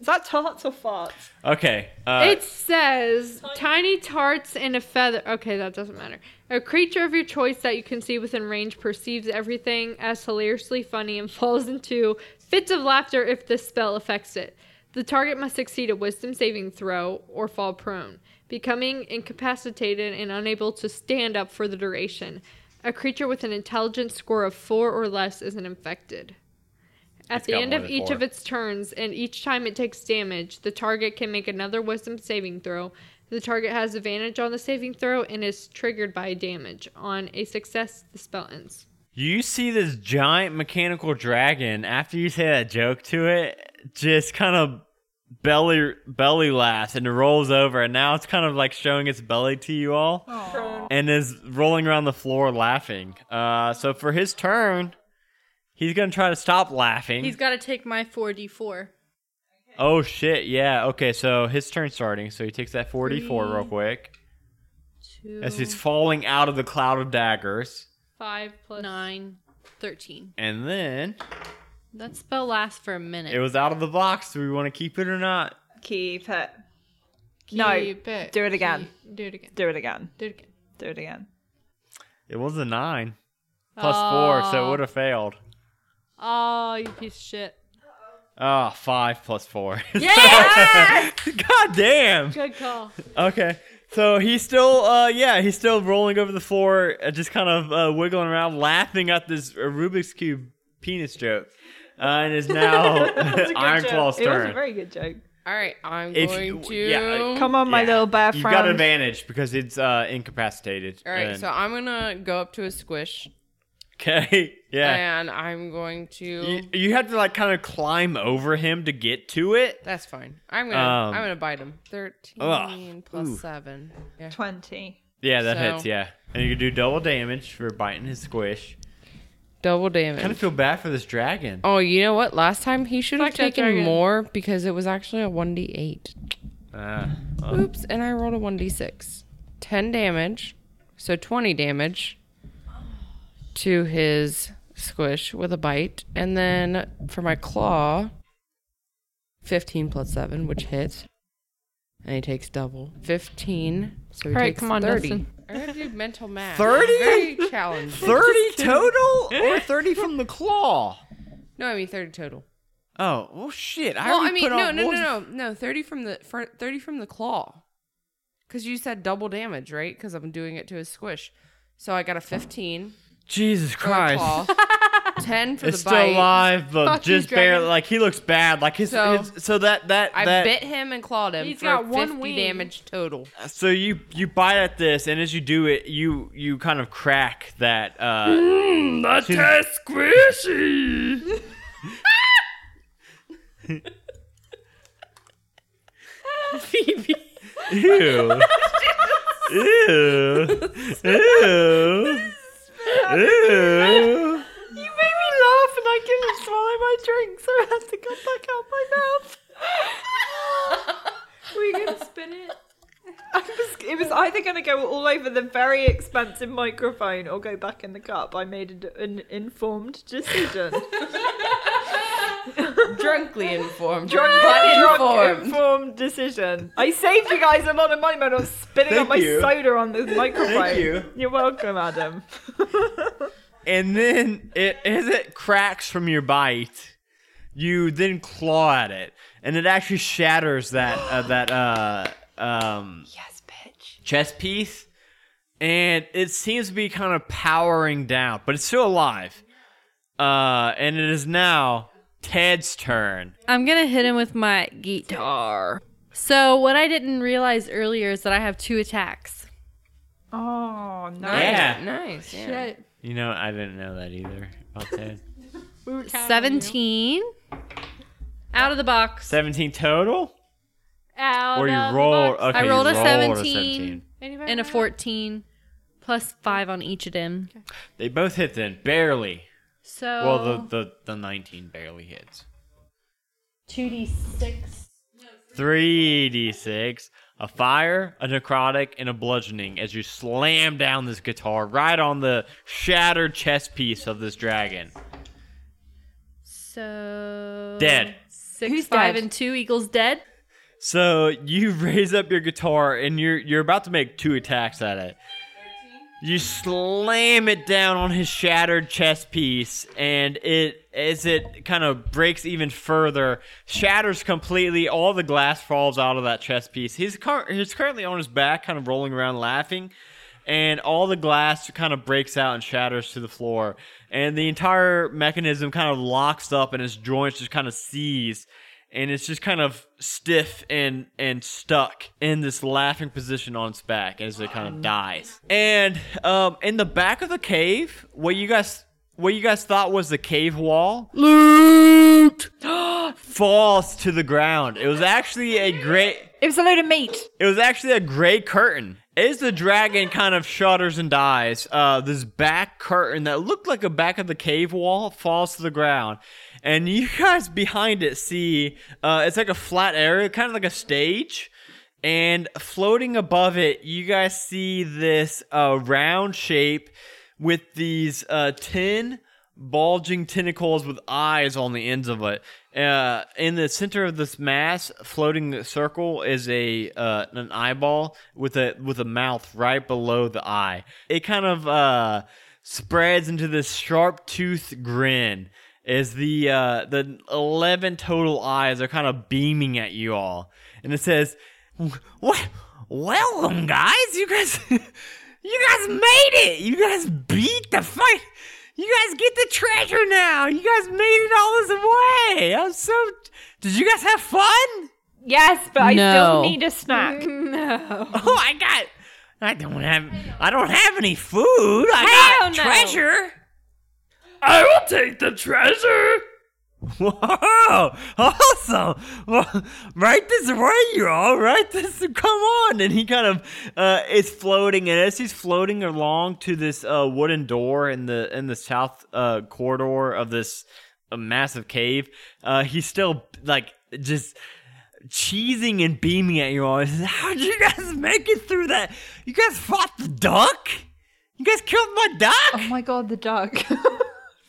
C: is that tarts or farts?
B: Okay. Uh,
D: It says tiny tarts and a feather. Okay, that doesn't matter. A creature of your choice that you can see within range perceives everything as hilariously funny and [laughs] falls into fits of laughter if the spell affects it. The target must succeed a wisdom saving throw or fall prone, becoming incapacitated and unable to stand up for the duration. A creature with an intelligence score of four or less isn't infected. At
B: It's
D: the
B: got
D: end
B: more
D: of
B: than
D: each
B: four.
D: of its turns, and each time it takes damage, the target can make another wisdom saving throw. The target has advantage on the saving throw and is triggered by damage. On a success, the spell ends.
B: You see this giant mechanical dragon after you say that joke to it, just kind of belly belly laughs and it rolls over, and now it's kind of like showing its belly to you all, and is rolling around the floor laughing. Uh, so for his turn, he's gonna try to stop laughing.
H: He's got to take my 4d4.
B: oh shit! Yeah. Okay. So his turn's starting. So he takes that forty-four real quick as he's falling out of the cloud of daggers,
D: Five plus
H: 9, 13.
B: and then
H: That spell lasts for a minute.
B: it was out of the box. Do we want to keep it or not?
C: Keep it. no,
D: Keep it.
C: do it again.
D: Keep- Do it again.
C: Do it again.
D: Do it again.
C: Do it again.
B: It was a nine plus four, so it would have failed.
H: oh, you piece of shit.
B: Ah, five plus four. [laughs] God damn.
D: Good call.
B: Okay. So he's still, uh, yeah, he's still rolling over the floor, uh, just kind of uh, wiggling around, laughing at this uh, Rubik's cube penis joke, uh, and
C: [laughs]
B: is now [laughs] Iron Claw's
C: It was a
B: turn.
C: very good joke.
G: All right, I'm
B: If
G: going
B: you-
G: to.
B: yeah, uh,
C: Come on, my
B: Yeah.
C: little bear
B: You've
C: friend.
B: got advantage because it's uh, incapacitated.
G: All right,
B: and-
G: so I'm gonna go up to a squish,
B: [laughs] okay, yeah.
G: and I'm going to.
B: You, you have to like kind of climb over him to get to it.
G: That's fine. I'm gonna.
B: Um,
G: I'm gonna bite him. Thirteen
B: Ugh.
G: plus
B: Ooh.
G: seven. Yeah.
C: Twenty.
B: Yeah, that
G: So-
B: hits. Yeah, and you can do double damage for biting his squish.
G: Double
B: Kind of
G: damage.
B: feel bad for this dragon.
G: Oh, you know what? Last time he should have
D: Fuck that
G: taken
D: dragon.
G: more because it was actually a one d eight. Oh.
B: Ah,
D: Oh.
B: well.
G: Oops, and I rolled a one d six. Ten damage, so twenty damage to his squish with a bite, and then for my claw, fifteen plus seven, which hits, and he takes double fifteen. So he
D: All right,
G: takes
D: come on,
G: thirty.
D: Dustin.
G: I gotta do mental math.
B: 30?
G: Very challenging.
B: Thirty total
G: [laughs]
B: or thirty from the claw?
G: No, I mean thirty total.
B: Oh, well, shit! I
G: well,
B: already
G: I mean,
B: put
G: no,
B: on
G: no,
B: what
G: no,
B: was-
G: no, no. Thirty from the fr- thirty from the claw, because you said double damage, right? Because I'm doing it to his squish. So I got a fifteen
B: Jesus
G: for the
B: Christ! [laughs]
G: claw, ten for
B: It's
G: the
B: still
G: bite.
B: alive, but
D: Fuck you,
B: just barely.
D: dragon.
B: Like he looks bad. Like his.
G: So-
B: his- so that that
G: I
B: that.
G: bit him and clawed him
D: He's
G: for
D: got one
G: fifty
D: wing.
G: damage total.
B: So you you bite at this, and as you do it, you you kind of crack that. Uh,
G: That's squishy.
B: [laughs] ew. ew. Ew. Ew.
C: You made me laugh, and I couldn't swallow my drink, so it has to come back out my mouth.
D: Were you gonna spin it?
C: I was- it was either going to go all over the very expensive microphone or go back in the cup. I made an, an informed decision.
G: Drunkly
C: [laughs]
G: informed.
C: Drunk,
G: informed.
C: informed decision. I saved you guys a lot of money by not spitting
B: Thank
C: up my
B: you.
C: soda on the microphone.
B: you.
C: [laughs] You're welcome, Adam.
B: and then it, as it cracks from your bite, you then claw at it, and it actually shatters that uh, that uh, um,
C: Yes, bitch.
B: chess piece, and it seems to be kind of powering down, but it's still alive. Uh, and it is now Ted's turn.
H: I'm gonna hit him with my guitar. So what I didn't realize earlier is that I have two attacks.
C: Oh, no.
G: Nice.
B: Yeah.
G: Nice. Yeah.
D: Shit.
B: You know, I didn't know that either about Ted. [laughs]
D: We were counting
H: Seventeen out of the box.
B: Seventeen total,
D: you. Out
B: or you
D: of the
B: rolled?
D: box.
B: Okay,
H: I rolled
B: you
H: a
B: rolled
H: 17.
B: 17.
D: Anybody
H: and a
D: remember?
H: 14 plus 5 on each of them.
B: They both hit then, barely.
H: So
B: Well, the, the the nineteen barely hits.
H: 2d6
B: Three d six, a fire, a necrotic, and a bludgeoning as you slam down this guitar right on the shattered chest piece of this dragon.
H: so
B: Dead.
H: 6
C: Who's
H: 5
C: dead?
H: and 2 equals dead.
B: So you [laughs] raise up your guitar and you're you're about to make two attacks at it. You slam it down on his shattered chest piece, and it as it kind of breaks even further, shatters completely. All the glass falls out of that chest piece. He's car- he's currently on his back, kind of rolling around laughing, and all the glass kind of breaks out and shatters to the floor. And the entire mechanism kind of locks up, and his joints just kind of seize and it's just kind of stiff and and stuck in this laughing position on its back as it kind of dies. And um, in the back of the cave, what you guys what you guys thought was the cave wall, loot [gasps] falls to the ground. It was actually a great.
C: It was a load of meat.
B: It was actually a gray curtain. As the dragon kind of shudders and dies, uh, this back curtain that looked like a back of the cave wall falls to the ground. And you [laughs] guys behind it see uh, it's like a flat area, kind of like a stage. And floating above it, you guys see this uh, round shape with these uh, 10 bulging tentacles with eyes on the ends of it. Uh, in the center of this mass, floating circle, is a uh, an eyeball with a with a mouth right below the eye. It kind of uh, spreads into this sharp toothed grin as the uh, the eleven total eyes are kind of beaming at you all, and it says, "What? Welcome, guys! You guys." You guys made it! You guys beat the fight! You guys get the treasure now! You guys made it all this way! I'm so. Did you guys have fun? [laughs]
C: Yes, but I
H: No.
C: still need a [laughs] snack.
B: Oh, I got. I don't have. I don't have any food. I got
C: Hell no.
B: treasure. I will take the treasure. Whoa! Awesome. Well, right this way, you all. Right this. Come on. And he kind of uh, is floating, and as he's floating along to this uh, wooden door in the in the south uh, corridor of this uh, massive cave, uh, he's still like just cheesing and beaming at you all. He says, How'd you guys make it through that? You guys fought the duck? You guys killed my duck?
C: Oh my god, the duck. [laughs]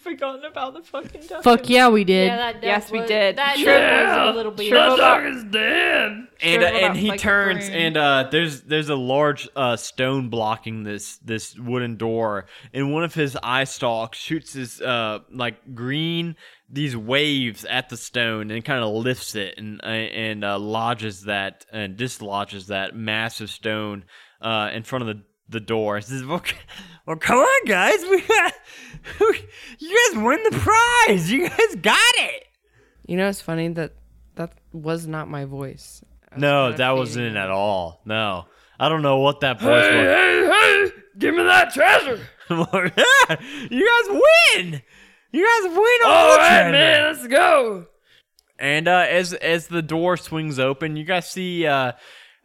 C: Forgotten about the fucking duck.
H: Fuck yeah, we did.
E: that duck
C: Yes, we
E: was-
C: did.
E: That
C: Sure.
E: duck was a little bit.
B: is dead. And
C: Shriveled
B: uh, and
C: up
B: he
C: like a
B: turns
C: prune.
B: and uh, there's there's a large uh, stone blocking this this wooden door, and one of his eye stalks shoots his uh like green these waves at the stone and kind of lifts it and uh, and uh, lodges that and dislodges that massive stone uh in front of the the door. It says, well, c- well, come on, guys, [laughs] we got, you guys win the prize. You guys got it.
G: You know, it's funny that that was not my voice. I was
B: No,
G: kinda
B: that wasn't
G: fading.
B: it at all. No. I don't know what that voice was. Hey, hey, give me that treasure. [laughs] you guys win. You guys win all, the treasure.
G: let's go.
B: And uh, as as the door swings open, you guys see uh,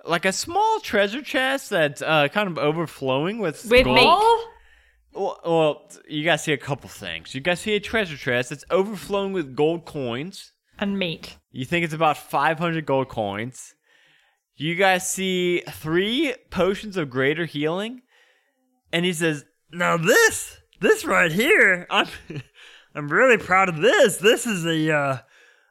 B: like a small treasure chest that's uh, kind of overflowing with
C: With
B: gold.
C: meat.
B: Well, well, you guys see a couple things. You guys see a treasure chest that's overflowing with gold coins.
C: And meat.
B: You think it's about 500 gold coins. You guys see three potions of greater healing. And he says, Now this, this right here, I'm, [laughs] I'm really proud of this. This is a, uh,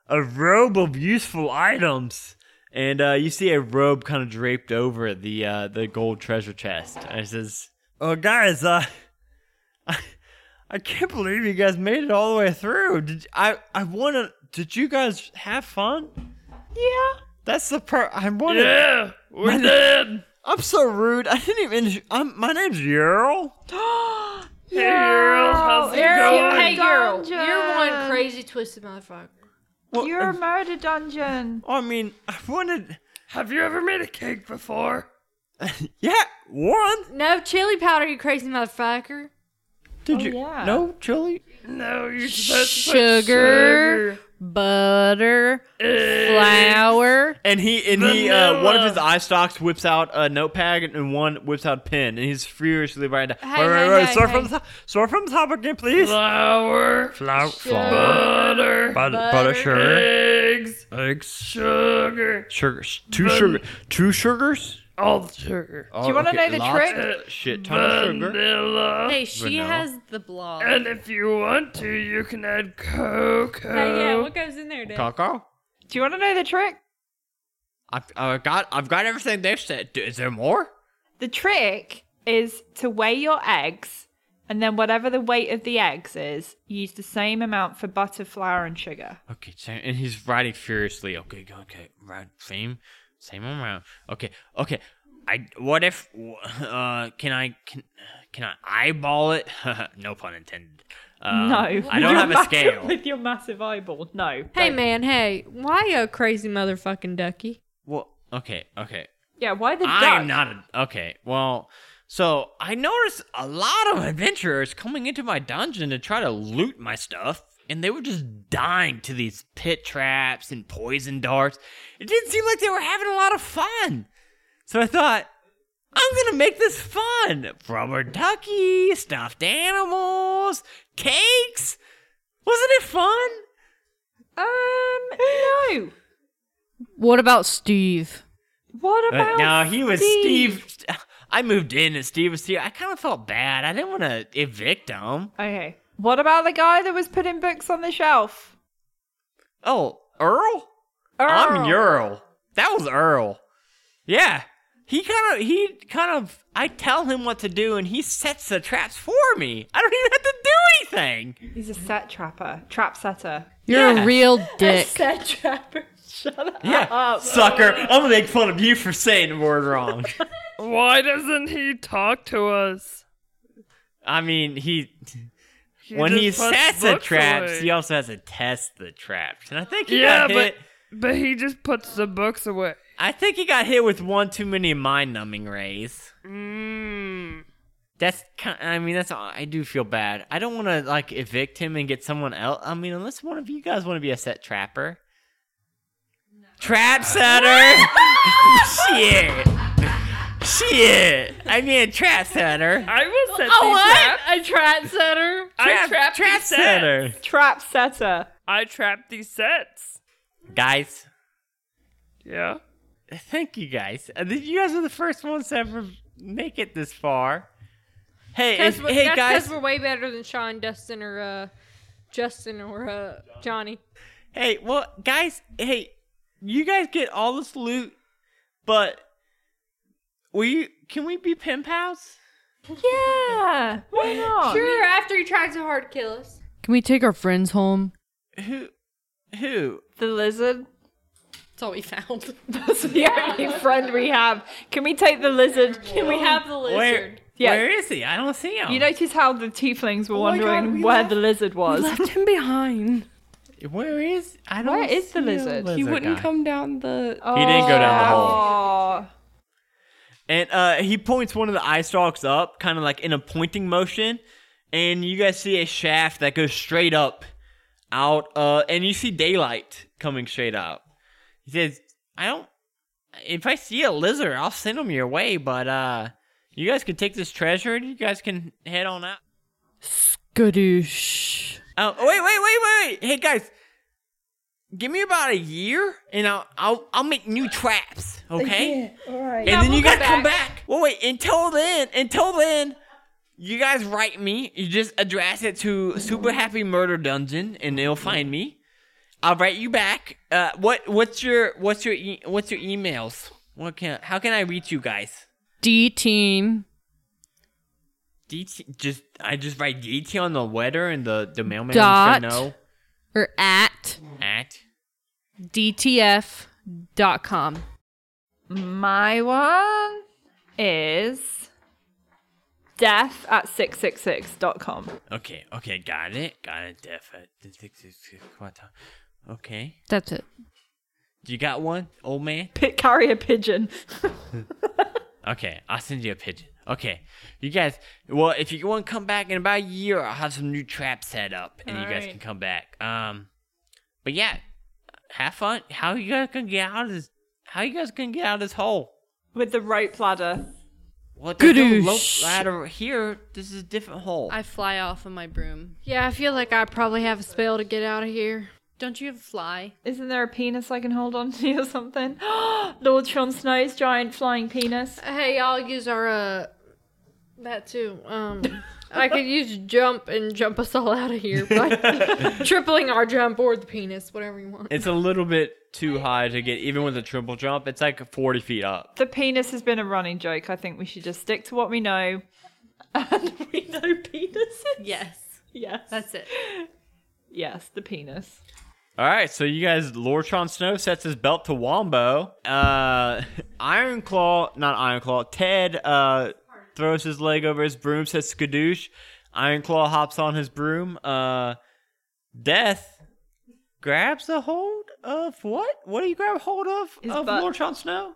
B: a robe of useful items. And uh, you see a robe kind of draped over the uh, the gold treasure chest. And he says, Oh, guys, uh, [laughs] I, I can't believe you guys made it all the way through. Did I? I wanna. Did you guys have fun? Yeah.
C: Oh,
B: That's the part I wanted. Yeah, we did. I'm so rude. I didn't even. I'm, my name's Yerl.
C: Hey, girl.
E: You're one crazy twisted motherfucker.
B: Well,
C: You're a
B: uh,
C: murder dungeon.
B: I mean, I wanted.
I: Have you ever made a cake before?
B: [laughs] Yeah, one.
E: No chili powder, you crazy motherfucker.
B: Did you?
C: yeah.
B: No chili.
I: No, you're supposed to put
H: Sugar, butter, flour.
B: And he and he uh, one of his eye stalks whips out a notepad and one whips out a pen and he's furiously writing. down,
H: Hey, hey, hey,
B: start
H: hey.
B: from the, start from the top again, please.
I: flour,
A: Flour,
I: butter,
A: butter, butter, sugar,
I: eggs,
A: eggs,
I: sugar,
A: sugars.
B: Two sugar, two sugars.
I: all the sugar,
B: Do
C: you wanna know the trick?
B: Shit ton of sugar.
I: vanilla.
H: Hey, she
B: Vanilla.
H: has the blog.
I: And if you want to, you can add
H: Hey, yeah,
I: cocoa.
H: what goes in there, Dad?
B: Coco.
C: Do you want to know the trick?
B: I've, I've got I've got everything they've said. Is there more?
C: The trick is to weigh your eggs, and then whatever the weight of the eggs is, use the same amount for butter, flour, and sugar.
B: Okay, same, and he's writing furiously. Okay, go- okay, right, same, same amount. Okay, okay. I what if? [laughs] Uh, can I can can I eyeball it? [laughs] no pun intended. Uh,
C: no,
B: I don't
C: [laughs]
B: have a scale.
C: with your massive eyeball. No.
H: Hey, man, hey, why you a crazy motherfucking ducky?
B: Well, okay, okay.
C: Yeah, why the duck?
B: I'm not a okay. Well, so I noticed a lot of adventurers coming into my dungeon to try to loot my stuff, and they were just dying to these pit traps and poison darts. It didn't seem like they were having a lot of fun. So I thought, I'm gonna make this fun. Rubber ducky, stuffed animals, cakes. Wasn't it fun?
C: Um, no.
H: What about Steve?
C: What
B: Uh,
C: about?
B: no, he was Steve. I moved in and Steve was here. I kind of felt bad. I didn't want to evict him.
C: Okay. What about the guy that was putting books on the shelf?
B: Oh, Earl? I'm Earl. That was Earl. Yeah. He kind of, he kind of, I tell him what to do and he sets the traps for me. I don't even have to do anything.
C: He's a set trapper, trap setter.
H: You're
B: Yeah.
H: a real Uh, dick.
C: Set trapper. Shut up.
B: Yeah. Sucker. I'm going to make fun of you for saying the word
H: [laughs]
B: wrong.
I: Why doesn't he talk to us?
B: I mean, he,
I: He
B: when he
I: just puts
B: sets the
I: books
B: traps,
I: away.
B: he also has to test the traps. And I think he
I: yeah,
B: got
I: but
B: hit.
I: but he just puts the books away.
B: I think he got hit with one too many mind numbing rays.
I: Mm.
B: That's kind. I mean, that's. I do feel bad. I don't want to like evict him and get someone else. I mean, unless one of you guys want to be a set trapper,
I: [laughs]
B: trap setter. Shit. Shit. I mean, trap setter.
I: I will set oh, these traps.
E: A trap setter?
I: I trap,
B: Trap
I: these sets.
B: setter.
C: Trap setter.
I: I trap these sets.
B: Guys,
I: Yeah.
B: thank you guys. Uh, th- You guys are the first ones to ever make it this far. Hey,
D: That's
B: if-
D: what-
B: hey
D: that's
B: guys.
D: because we're way better than Sean, Dustin, or uh, Justin, or uh, Johnny.
B: Hey, well, guys, hey, you guys get all this loot, but we can we be pen pals?
C: Yeah. Why not?
D: Sure, after he tried so hard to kill us.
H: Can we take our friends home?
B: Who, who?
C: The lizard.
E: That's all we found.
C: [laughs] That's the only friend we have. Can we take the lizard? Can we have?
E: the
B: Where?
C: Yeah.
B: Where is he? I don't see him.
C: You notice how the tieflings were
B: my God,
C: wondering
B: we
C: where
B: left-
C: the lizard was.
G: Left him behind.
B: where is? I don't.
C: Where is
B: see
C: the
B: a
C: lizard? He
G: He wouldn't
B: guy.
G: come down the.
C: Oh.
B: He didn't go down the
C: hole.
B: And uh, he points one of the eye stalks up, kind of like in a pointing motion, and you guys see a shaft that goes straight up, out, uh, and you see daylight coming straight up. He says, "I don't. If I see a lizard, I'll send him your way, but uh, you guys can take this treasure, and you guys can head on out."
H: Gadoosh.
B: Oh, oh, wait, wait, wait, wait, wait! Hey guys, give me about a year, and I'll I'll, I'll make new traps, okay? And then you guys come back. Well, wait. Until then, until then, you guys write me. You just address it to Super Happy Murder Dungeon, and they'll find me. I'll write you back. Uh, what what's your what's your e- what's your emails? What can how can I reach you guys?
H: D team
B: DT, just I just write DT on the letter and the the mailman
H: Dot.
B: said no
H: or at
B: at
H: dtf.com.
C: My one is death at 666.com.
B: okay okay got it got it def at the six- six- six- what time? okay
H: That's it.
B: you got one old man
C: P- carry a pigeon. [laughs]
B: okay I'll send you a pigeon okay you guys well if you want to come back in about a year I'll have some new traps set up and you guys
E: Alright.
B: can come back um but yeah have fun how you guys gonna get out of this how you guys gonna get out of this hole
C: With the rope ladder.
B: well there's no
H: Gadoosh.
B: rope ladder here this is a different hole
H: I fly off of my broom.
E: Yeah, I feel like I probably have a spell to get out of here.
H: Don't you have a fly?
C: Isn't there a penis I can hold on to or something? [gasps] Lord Sean Snow's giant flying penis.
E: Hey, I'll use our uh that too. Um I could use jump and jump us all out of here [laughs] by tripling our jump or the penis, whatever you want.
B: It's a little bit too high to get even with a triple jump. It's like 40 feet up.
C: The penis has been a running joke. I think we should just stick to what we know. [laughs] And we know penises.
H: Yes.
C: Yes.
H: That's it.
C: yes, the penis.
B: All right, so you guys, Lortron Snow sets his belt to Wombo. Uh, [laughs] Iron Claw, not Iron Claw, Ted uh, throws his leg over his broom, says skadoosh. Iron Claw hops on his broom. Uh, Death grabs a hold of what? What do you grab hold of?
C: His
B: of
C: butt.
B: Lortron Snow?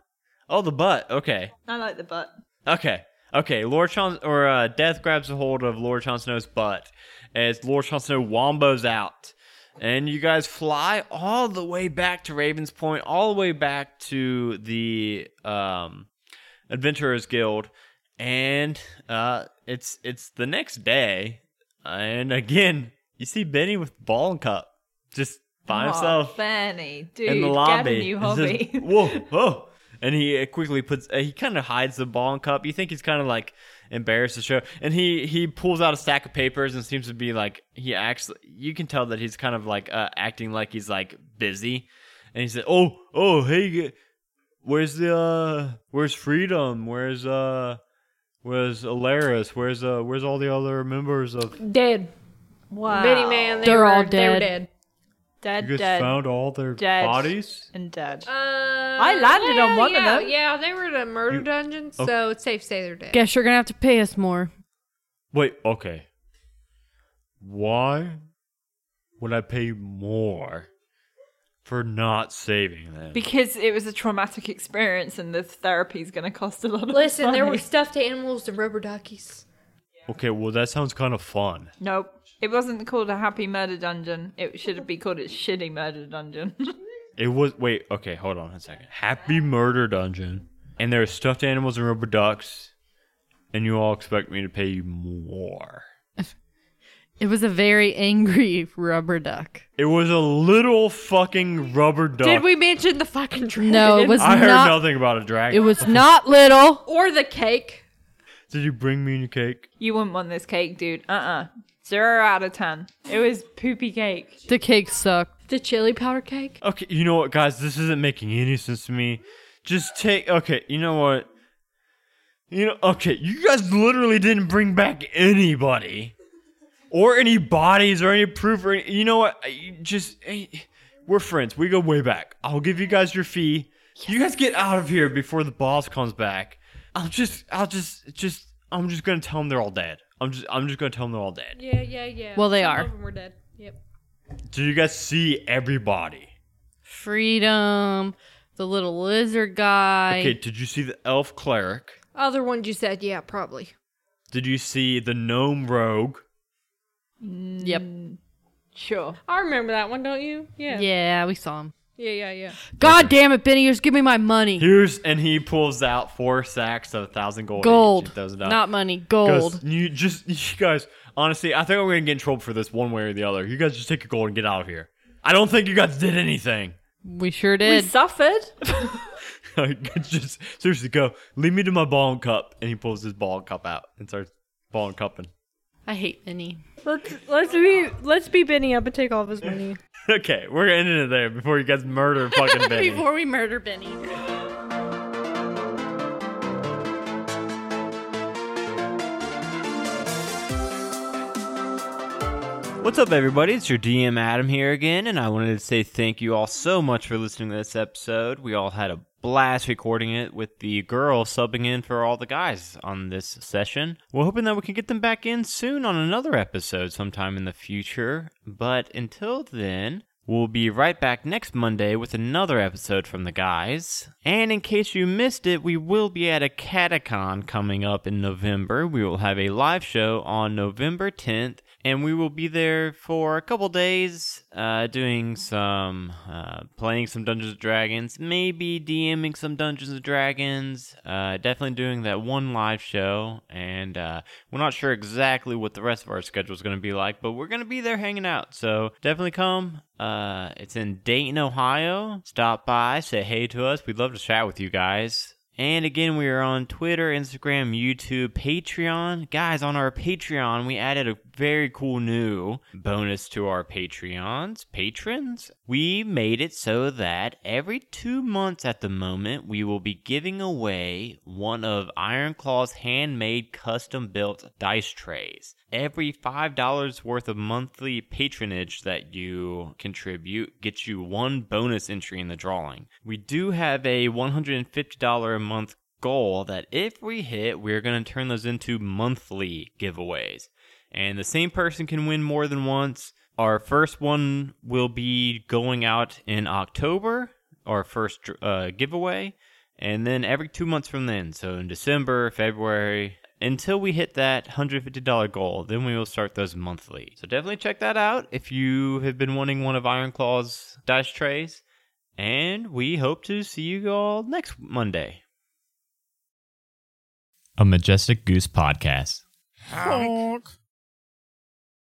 B: Oh, the butt. Okay.
C: I like the butt.
B: Okay. Okay. Lord Chon or uh, Death grabs a hold of Lord Chon Snow's butt as Lord Chon Snow wombos out. And you guys fly all the way back to Raven's Point, all the way back to the um, Adventurers Guild, and uh, it's it's the next day, and again you see Benny with ball and cup, just by himself
C: Benny, dude,
B: in the
C: get a
B: lobby.
C: new
B: and says, [laughs]
C: hobby. [laughs]
B: whoa, whoa. And he uh, quickly puts, uh, he kind of hides the ball and cup. You think he's kind of like embarrassed to show. And he, he pulls out a stack of papers and seems to be like, he acts, you can tell that he's kind of like uh, acting like he's like busy. And he said, oh, oh, hey, uh, where's the, uh, where's freedom? Where's, uh, where's Alaris? Where's, uh, where's all the other members of, you
E: Dead.
C: wow.
E: Mini man, they
H: They're
E: were,
H: all
E: They were
H: dead.
E: dead.
C: Dead,
B: guys
C: dead,
B: found all their
C: dead.
B: bodies?
C: and dead.
E: Uh,
C: I landed on one of
E: yeah,
C: them.
E: Yeah, they were in a murder dungeon, so it's safe to say they're dead.
H: Guess you're gonna have to pay us more.
B: Wait, okay. Why would I pay more for not saving them?
C: because it was a traumatic experience and the therapy is going to cost a lot of
E: Listen, there
C: money.
E: were stuffed animals and rubber duckies.
B: okay, well, that sounds kind of fun.
C: [laughs] Nope. It wasn't called a happy murder dungeon. It should be called a shitty murder dungeon. [laughs]
B: It was. Wait, okay, hold on a second. Happy Murder Dungeon. And there are stuffed animals and rubber ducks, and you all expect me to pay you more.
H: It was a very angry [laughs] rubber duck.
B: It was a little fucking rubber duck.
D: Did we mention the fucking dragon?
H: No, it was
B: I heard
H: not.
B: nothing about a dragon.
H: It was not little.
E: Or the cake.
B: Did you bring me any cake?
C: you wouldn't want this cake, dude. Uh uh Zero out of ten. It was poopy cake.
H: The cake sucked.
E: The chili powder cake.
B: Okay, you know what, guys? This isn't making any sense to me. Just take. Okay, you know what? You know, okay, you guys literally didn't bring back anybody, or any bodies, or any proof, or any, you know what? I- Just eh, we're friends. We go way back. I'll give you guys your fee. You guys get out of here before the boss comes back. I'll just, I'll just, just, I'm just gonna tell them they're all dead. I'm just, I'm just gonna tell them they're all dead.
E: Yeah, yeah, yeah.
H: Well, they
E: Some
H: are.
E: Of them were dead. Yep.
B: Do you guys see everybody?
H: Freedom. The little lizard guy.
B: Okay, did you see the elf cleric?
E: Other ones you said, yeah, probably.
B: Did you see the gnome rogue?
H: Yep.
C: Sure.
E: I remember that one, don't you?
H: Yeah.
E: Yeah.
H: we saw him.
E: Yeah, yeah, yeah.
H: God damn it, Benny! Just give me my money.
B: Here's and he pulls out four sacks of a thousand gold.
H: Gold,
B: each, those
H: not money. Gold.
B: You just you guys honestly, I think we're gonna get in trouble for this one way or the other. You guys just take your gold and get out of here. I don't think you guys did anything.
H: We sure
C: We
B: [laughs]
H: did.
C: suffered. [laughs]
B: just seriously, go leave me to my ball and cup. And he pulls his ball and cup out and starts ball and cupping. [laughs]
H: I hate Benny.
D: Let's let's be let's be Benny up and take all of his money.
B: Okay, we're ending it there before you guys murder
H: [laughs]
B: fucking Benny.
H: Before we murder Benny.
B: What's up, everybody? It's your DM Adam here again, and I wanted to say thank you all so much for listening to this episode. We all had a blast recording it with the girl subbing in for all the guys on this session. We're hoping that we can get them back in soon on another episode sometime in the future, but until then, We'll be right back next Monday with another episode from the guys. And in case you missed it, we will be at a catacon coming up in November. We will have a live show on November 10th, and we will be there for a couple days uh, doing some, uh, playing some Dungeons and Dragons, maybe DMing some Dungeons and Dragons, uh, definitely doing that one live show. And uh, we're not sure exactly what the rest of our schedule is going to be like, but we're going to be there hanging out. So definitely come. Uh, it's in Dayton, Ohio. Stop by, say hey to us. We'd love to chat with you guys. And again, we are on Twitter, Instagram, YouTube, Patreon. Guys, on our Patreon, we added a very cool new bonus to our Patreons, patrons. We made it so that every two months at the moment, we will be giving away one of Ironclaw's handmade custom built dice trays. Every $5 worth of monthly patronage that you contribute gets you one bonus entry in the drawing. We do have a $150 a month goal that if we hit, we're going to turn those into monthly giveaways. And the same person can win more than once. Our first one will be going out in October, our first uh, giveaway, and then every two months from then. So in December, February, until we hit that $150 goal, then we will start those monthly. So definitely check that out if you have been wanting one of Ironclaw's dice trays. And we hope to see you all next Monday. A Majestic Goose Podcast.
A: Honk.